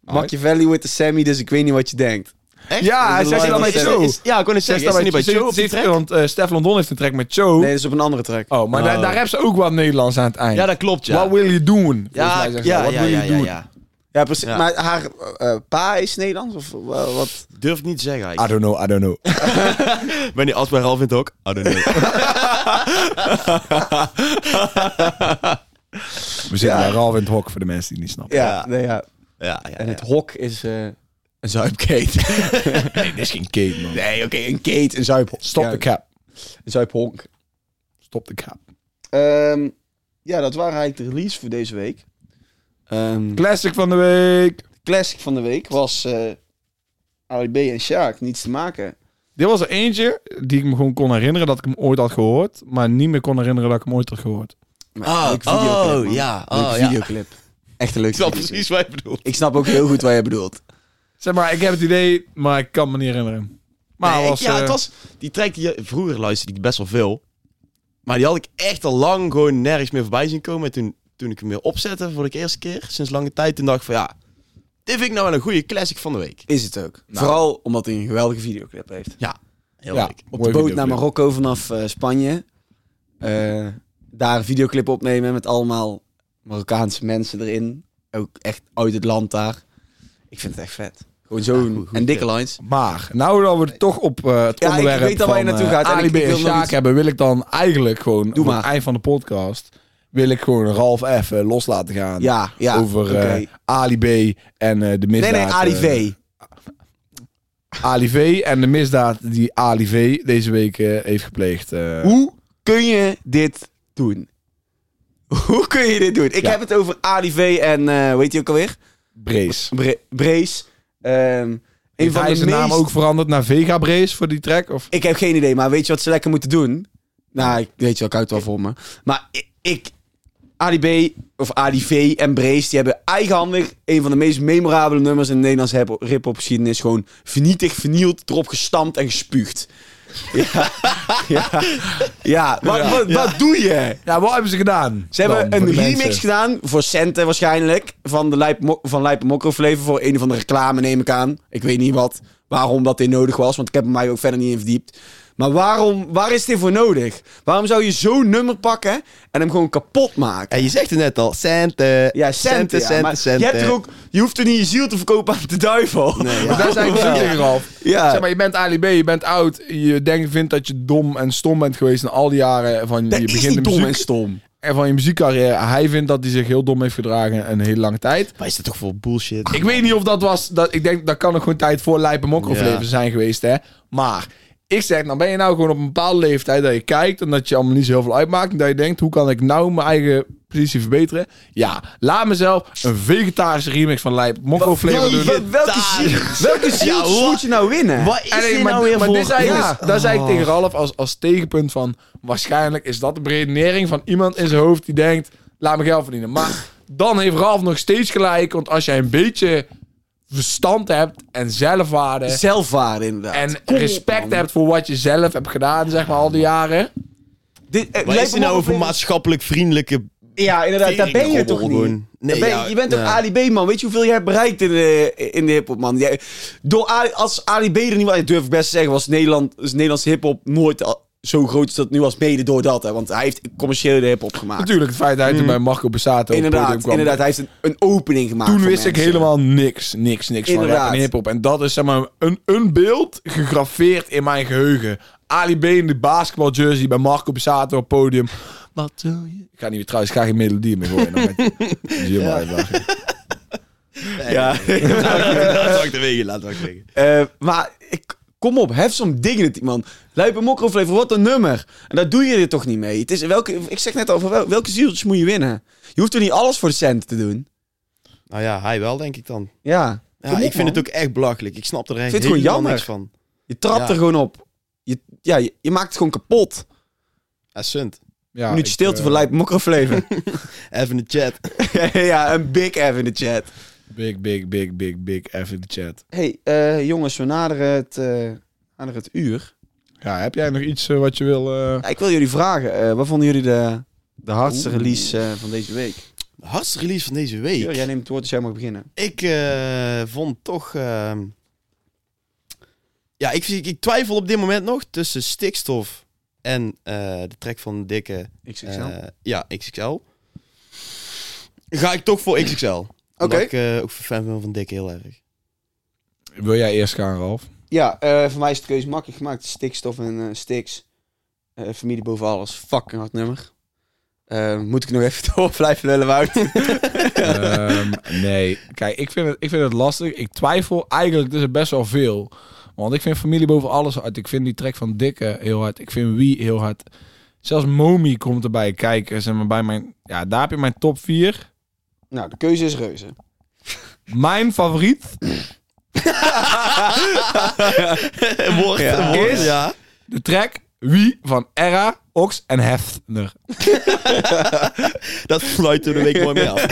Machiavelli with the Sammy, dus ik weet niet wat je denkt.
Echt?
Ja, hij
De
zegt
line
dan bij
is-
Joe.
is- Ja, ik kon het
Zeg
zeggen. Is
dat
het niet bij Joe op die track?
Want eh Stef London heeft een track met Joe.
Nee, dat is op een andere track.
Oh, maar
Oh.
Daar, daar hebben ze ook wat Nederlands aan het eind.
Ja, dat klopt, ja.
What will you do? Volgens
ja,
mij zeggen ze
ja,
dat. What
ja,
will
ja,
you
ja,
do?
ja.
Ja, precies.
Ja.
Maar haar eh, eh, pa is Nederlands? Of eh, wat?
Durf het niet te zeggen
I
eigenlijk.
don't know, I don't know.
Ben je als bij Ralf in het ook? I don't know.
We
[laughs]
zitten bij Ralf in het hok voor de mensen die het niet snappen.
Ja, nee, ja.
ja, ja,
En
ja.
het hok is eh, een zuipkeet.
Nee, dit is geen Kate, man.
nee, oké, een keet, een zuiphok.
Stop
ja,
de cap.
Een zuiphonk.
Stop de cap.
Ehm, ja, dat waren eigenlijk de release voor deze week. Ehm,
Classic van de week.
classic van de week was eh Ali B en Sjaak, niets te maken.
Dit was er eentje die ik me gewoon kon herinneren dat ik hem ooit had gehoord. Maar niet meer kon herinneren dat ik hem ooit had gehoord.
Maar
Oh,
leuke videoclip,
oh,
man.
ja,
Leuke
oh, ja.
videoclip. Echt een leuk.
Ik snap precies wat je bedoelt.
Ik snap ook heel goed wat jij bedoelt.
Zeg maar, ik heb het idee, maar ik kan me niet herinneren. Maar
Nee, ik-
was,
ja,
eh,
het was... Die track die je- vroeger luisterde ik best wel veel. Maar die had ik echt al lang gewoon nergens meer voorbij zien komen. En toen, toen ik hem weer opzette voor de eerste keer, sinds lange tijd, toen dacht ik van ja, dit vind ik nou wel een goede classic van de week.
Is het ook. Vooral omdat hij een geweldige videoclip heeft.
Ja, Heel
Ja.
leuk.
Mooi
Op de boot
videoclip.
naar Marokko vanaf eh, Spanje. Eh, daar een videoclip opnemen met allemaal Marokkaanse mensen erin. Ook echt uit het land daar. Ik vind het echt vet. Gewoon zo'n...
goed- goed
en dikke
tip.
lines.
Maar, nou dat we het toch op eh, het
Ja, ik
onderwerp
weet al waar je
van,
naartoe
eh,
gaat en
Ali
ik-
B
ik wil
en
nog
Sjaak
iets-
hebben, wil ik dan eigenlijk gewoon
Doe
op het
maar.
eind van de podcast, wil ik gewoon Ralf even los laten gaan
Ja, ja.
over
oké.
eh, Ali B en eh, de
nee,
misdaad.
nee, Ali
eh,
V.
Ali V en de misdaad die Ali V deze week eh, heeft gepleegd. eh.
Hoe kun je dit doen? [laughs] Hoe kun je dit doen? Ik
Ja.
heb het over Ali V en... eh weet je ook alweer?
Brace.
Bre Brace. Ehm een
Heeft
van
hij
de
zijn naam
meest-
ook veranderd naar Vega Brace voor die track? Of?
Ik heb geen idee, maar weet je wat ze lekker moeten doen? Nou, ik weet je wel, ik hou het wel voor me. Maar ik, ik Ali B, of Ali V en Brace, die hebben eigenhandig een van de meest memorabele nummers in de Nederlandse hip- hip-hop geschiedenis gewoon vernietigd, vernield, erop gestampt en gespuugd. [laughs] Ja, ja, ja. Wat,
Ja.
Wat, wat doe je?
Ja, wat hebben ze gedaan?
Ze hebben een remix gedaan voor centen waarschijnlijk. Van de Lijp, Mo- van Lijp Mokro Flavor voor een van de reclame, neem ik aan. Ik weet niet wat, waarom dat dit nodig was, want ik heb er mij ook verder niet in verdiept. Maar waarom, waar is dit voor nodig? Waarom zou je zo'n nummer pakken en hem gewoon kapot maken?
En je zegt het net al, centen.
Ja, centen, ja, maar Je, hebt er ook, je hoeft er niet je ziel te verkopen aan de duivel.
Nee, ja.
Maar daar [laughs] zijn we zo tegen, Ralf.
[laughs] Ja.
Zeg maar, je bent Ali B, je bent oud. Je denkt, vindt dat je dom en stom bent geweest in al die jaren van
Dat
je
is niet
beginnende
dom en
muziek.
stom.
En van je muziekcarrière. Hij vindt dat hij zich heel dom heeft gedragen een hele lange tijd.
Wat is dit toch voor bullshit?
Ik weet niet of dat was. Dat, ik denk dat kan nog gewoon tijd voor Lijpen Mokrofleven
Ja.
zijn geweest, hè. Maar ik zeg, nou ben je nou gewoon op een bepaalde leeftijd dat je kijkt en dat je allemaal niet zo heel veel uitmaakt. En dat je denkt, hoe kan ik nou mijn eigen positie verbeteren? Ja, laat mezelf een vegetarische remix van Lijpen Mokrofleven doen.
Wel- welke ziel, welke ziel
hoor.
moet je nou winnen?
Wat is
En
dit
nee,
nou weer
maar
voor?
dit is eigenlijk,
Ja.
dat is eigenlijk tegen Ralf als, als tegenpunt van... waarschijnlijk is dat de beredenering van iemand in zijn hoofd die denkt... laat me geld verdienen. Maar dan heeft Ralf nog steeds gelijk. Want als jij een beetje verstand hebt en zelfwaarde...
Zelfwaarde inderdaad.
en
Kom op,
respect
man.
hebt voor wat je zelf hebt gedaan, zeg maar, al die jaren...
Dit, eh,
Wat
Lijp
is dit nou
Mokro
voor
Flavor-
maatschappelijk vriendelijke...
Ja, inderdaad, daar ben je
Teringrommel
toch niet.
gewoon. Nee,
Daar ben je-
ja,
je bent toch
ja.
Ali B, man. Weet je hoeveel jij hebt bereikt in de, in de hip-hop, man? Jij, door Ali- als Ali B er niet was, durf ik best te zeggen, was Nederland, is Nederlandse hip-hop nooit al- zo groot als dat nu was, mede door dat. Hè, want hij heeft commerciële hip-hop gemaakt.
Natuurlijk, het feit dat hij toen bij Marco Bassato op het podium
Inderdaad,
kwam...
inderdaad, hij heeft een, een opening gemaakt.
Toen
voor
wist ik
mensen.
helemaal niks, niks, niks van rap
Inderdaad.
en hiphop. En dat is zeg maar een, een beeld gegraveerd in mijn geheugen. Ali B in de basketbaljersey bij Marco Bussato op het podium. Wat wil
[laughs]
je? Ik ga niet meer trouwens, ik ga geen melodie meer gooien. Dan
[laughs]
ben ik- Dat is helemaal uitlachen.
Ja.
Laat ik wegen, laat ik wegen.
[laughs] Eh, maar ik, kom op, hef zo'n dignity, man. Luipen Mokroflever, wat een nummer. En daar doe je dit toch niet mee. Het is welke, ik zeg net al, van wel- welke zieltjes moet je winnen? Je hoeft er niet alles voor de cent te doen.
Nou ja, hij wel, denk ik dan.
Ja,
Ja,
Kom op,
ik vind
man.
het ook echt belachelijk. Ik snap er echt
vind het gewoon
helemaal
jammer.
niks van.
je trapt
Ja.
er gewoon op. Je, ja, je, je maakt het gewoon kapot.
Ja, sunt.
Ja,
Een minuutje
ik,
stilte
eh,
voor Luipen
[laughs]
Mokroflever.
Even in de chat.
[laughs] ja, een big F in de chat.
Big, big, big, big, big. Even in de chat.
hey, eh, jongens, we naderen het, eh, naderen het uur.
Ja, heb jij nog iets eh, wat je wil... eh,
Ja, ik wil jullie vragen, eh, wat vonden jullie de, de hardste release eh, van deze week?
De hardste release van deze week.
Jur, jij neemt het woord, dus jij mag beginnen.
Ik eh, vond toch... ehm, Ja, ik, ik twijfel op dit moment nog tussen stikstof en eh, de track van Dikke.
Ik zeg zelf.
eh ja, XXL. Ga ik toch voor XXL. Oké.
Oké.
ik eh, ook fan ben van Dikke heel erg.
wil jij eerst gaan, Ralf?
Ja, eh, voor mij is de keuze makkelijk gemaakt. Stikstof en eh Stix. Eh, familie boven alles. Fucking hard nummer. Eh, moet ik nog even [laughs] door blijven lullen, Wout?
[laughs]
Ehm, nee. Kijk, ik vind, het, ik vind het lastig. Ik twijfel eigenlijk dus best wel veel. Want ik vind familie boven alles hard. Ik vind die track van Dikke heel hard. Ik vind Wie heel hard. Zelfs Momi komt erbij kijken. Zeg maar bij mijn, ja, daar heb je mijn top 4.
nou, de keuze is reuze.
Mijn favoriet,
Woord, ja.
Is-
ja.
de track Wie van Era, Ox en Hefner.
Dat sluiten we de week mooi
[laughs]
mee af.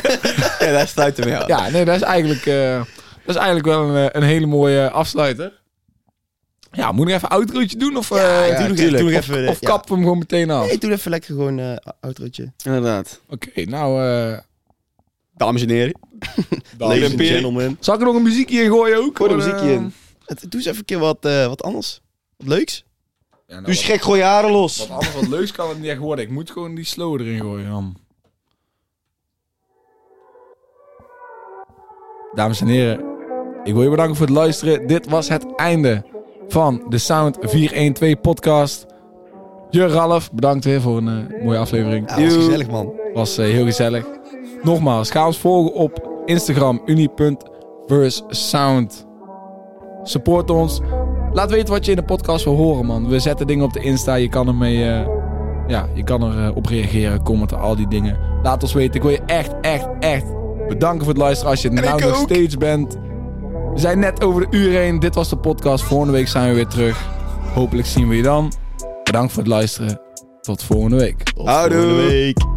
ja, daar sluit hem wel.
Ja, nee, dat is eigenlijk, eh, dat is eigenlijk wel een, eh, een hele mooie afsluiter. Ja, moet ik even een outrootje doen? Of, eh,
ja,
doe nog
tuurlijk.
even-
Doe nog
of,
even de-
of
ja.
kappen we hem gewoon meteen af?
Ik doe even lekker gewoon eh outrootje.
Oh, Inderdaad.
Oké, nou... eh,
Dames en heren.
Ladies and
Imperium.
gentlemen.
Zal ik er nog een muziekje in gooien ook?
Gooi er muziekje in.
Het- Doe eens even een keer eh, wat, eh, wat anders. Wat leuks.
Ja, nou,
Dus gek, gooi je haren los.
wat, wat anders wat leuks kan het niet echt worden. Ik moet gewoon die slow erin gooien, Ram. Dames en heren, ik wil je bedanken voor het luisteren. Dit was het einde van de Sound 412 podcast. Je Ralf, bedankt weer voor een eh, mooie aflevering.
Ja, dat was gezellig, man.
Was eh, heel gezellig. Nogmaals, ga ons volgen op Instagram uni.versound. Support ons. Laat weten wat je in de podcast wil horen, man. We zetten dingen op de Insta. Je kan ermee. eh, ja, je kan er eh, op reageren, commenten, al die dingen. Laat ons weten. Ik wil je echt, echt, echt bedanken voor het luisteren. Als je het nou nog steeds bent. We zijn net over de uur heen. Dit was de podcast. Volgende week zijn we weer terug. Hopelijk zien we je dan. Bedankt voor het luisteren. Tot volgende week.
Tot volgende
Houdoe.
week.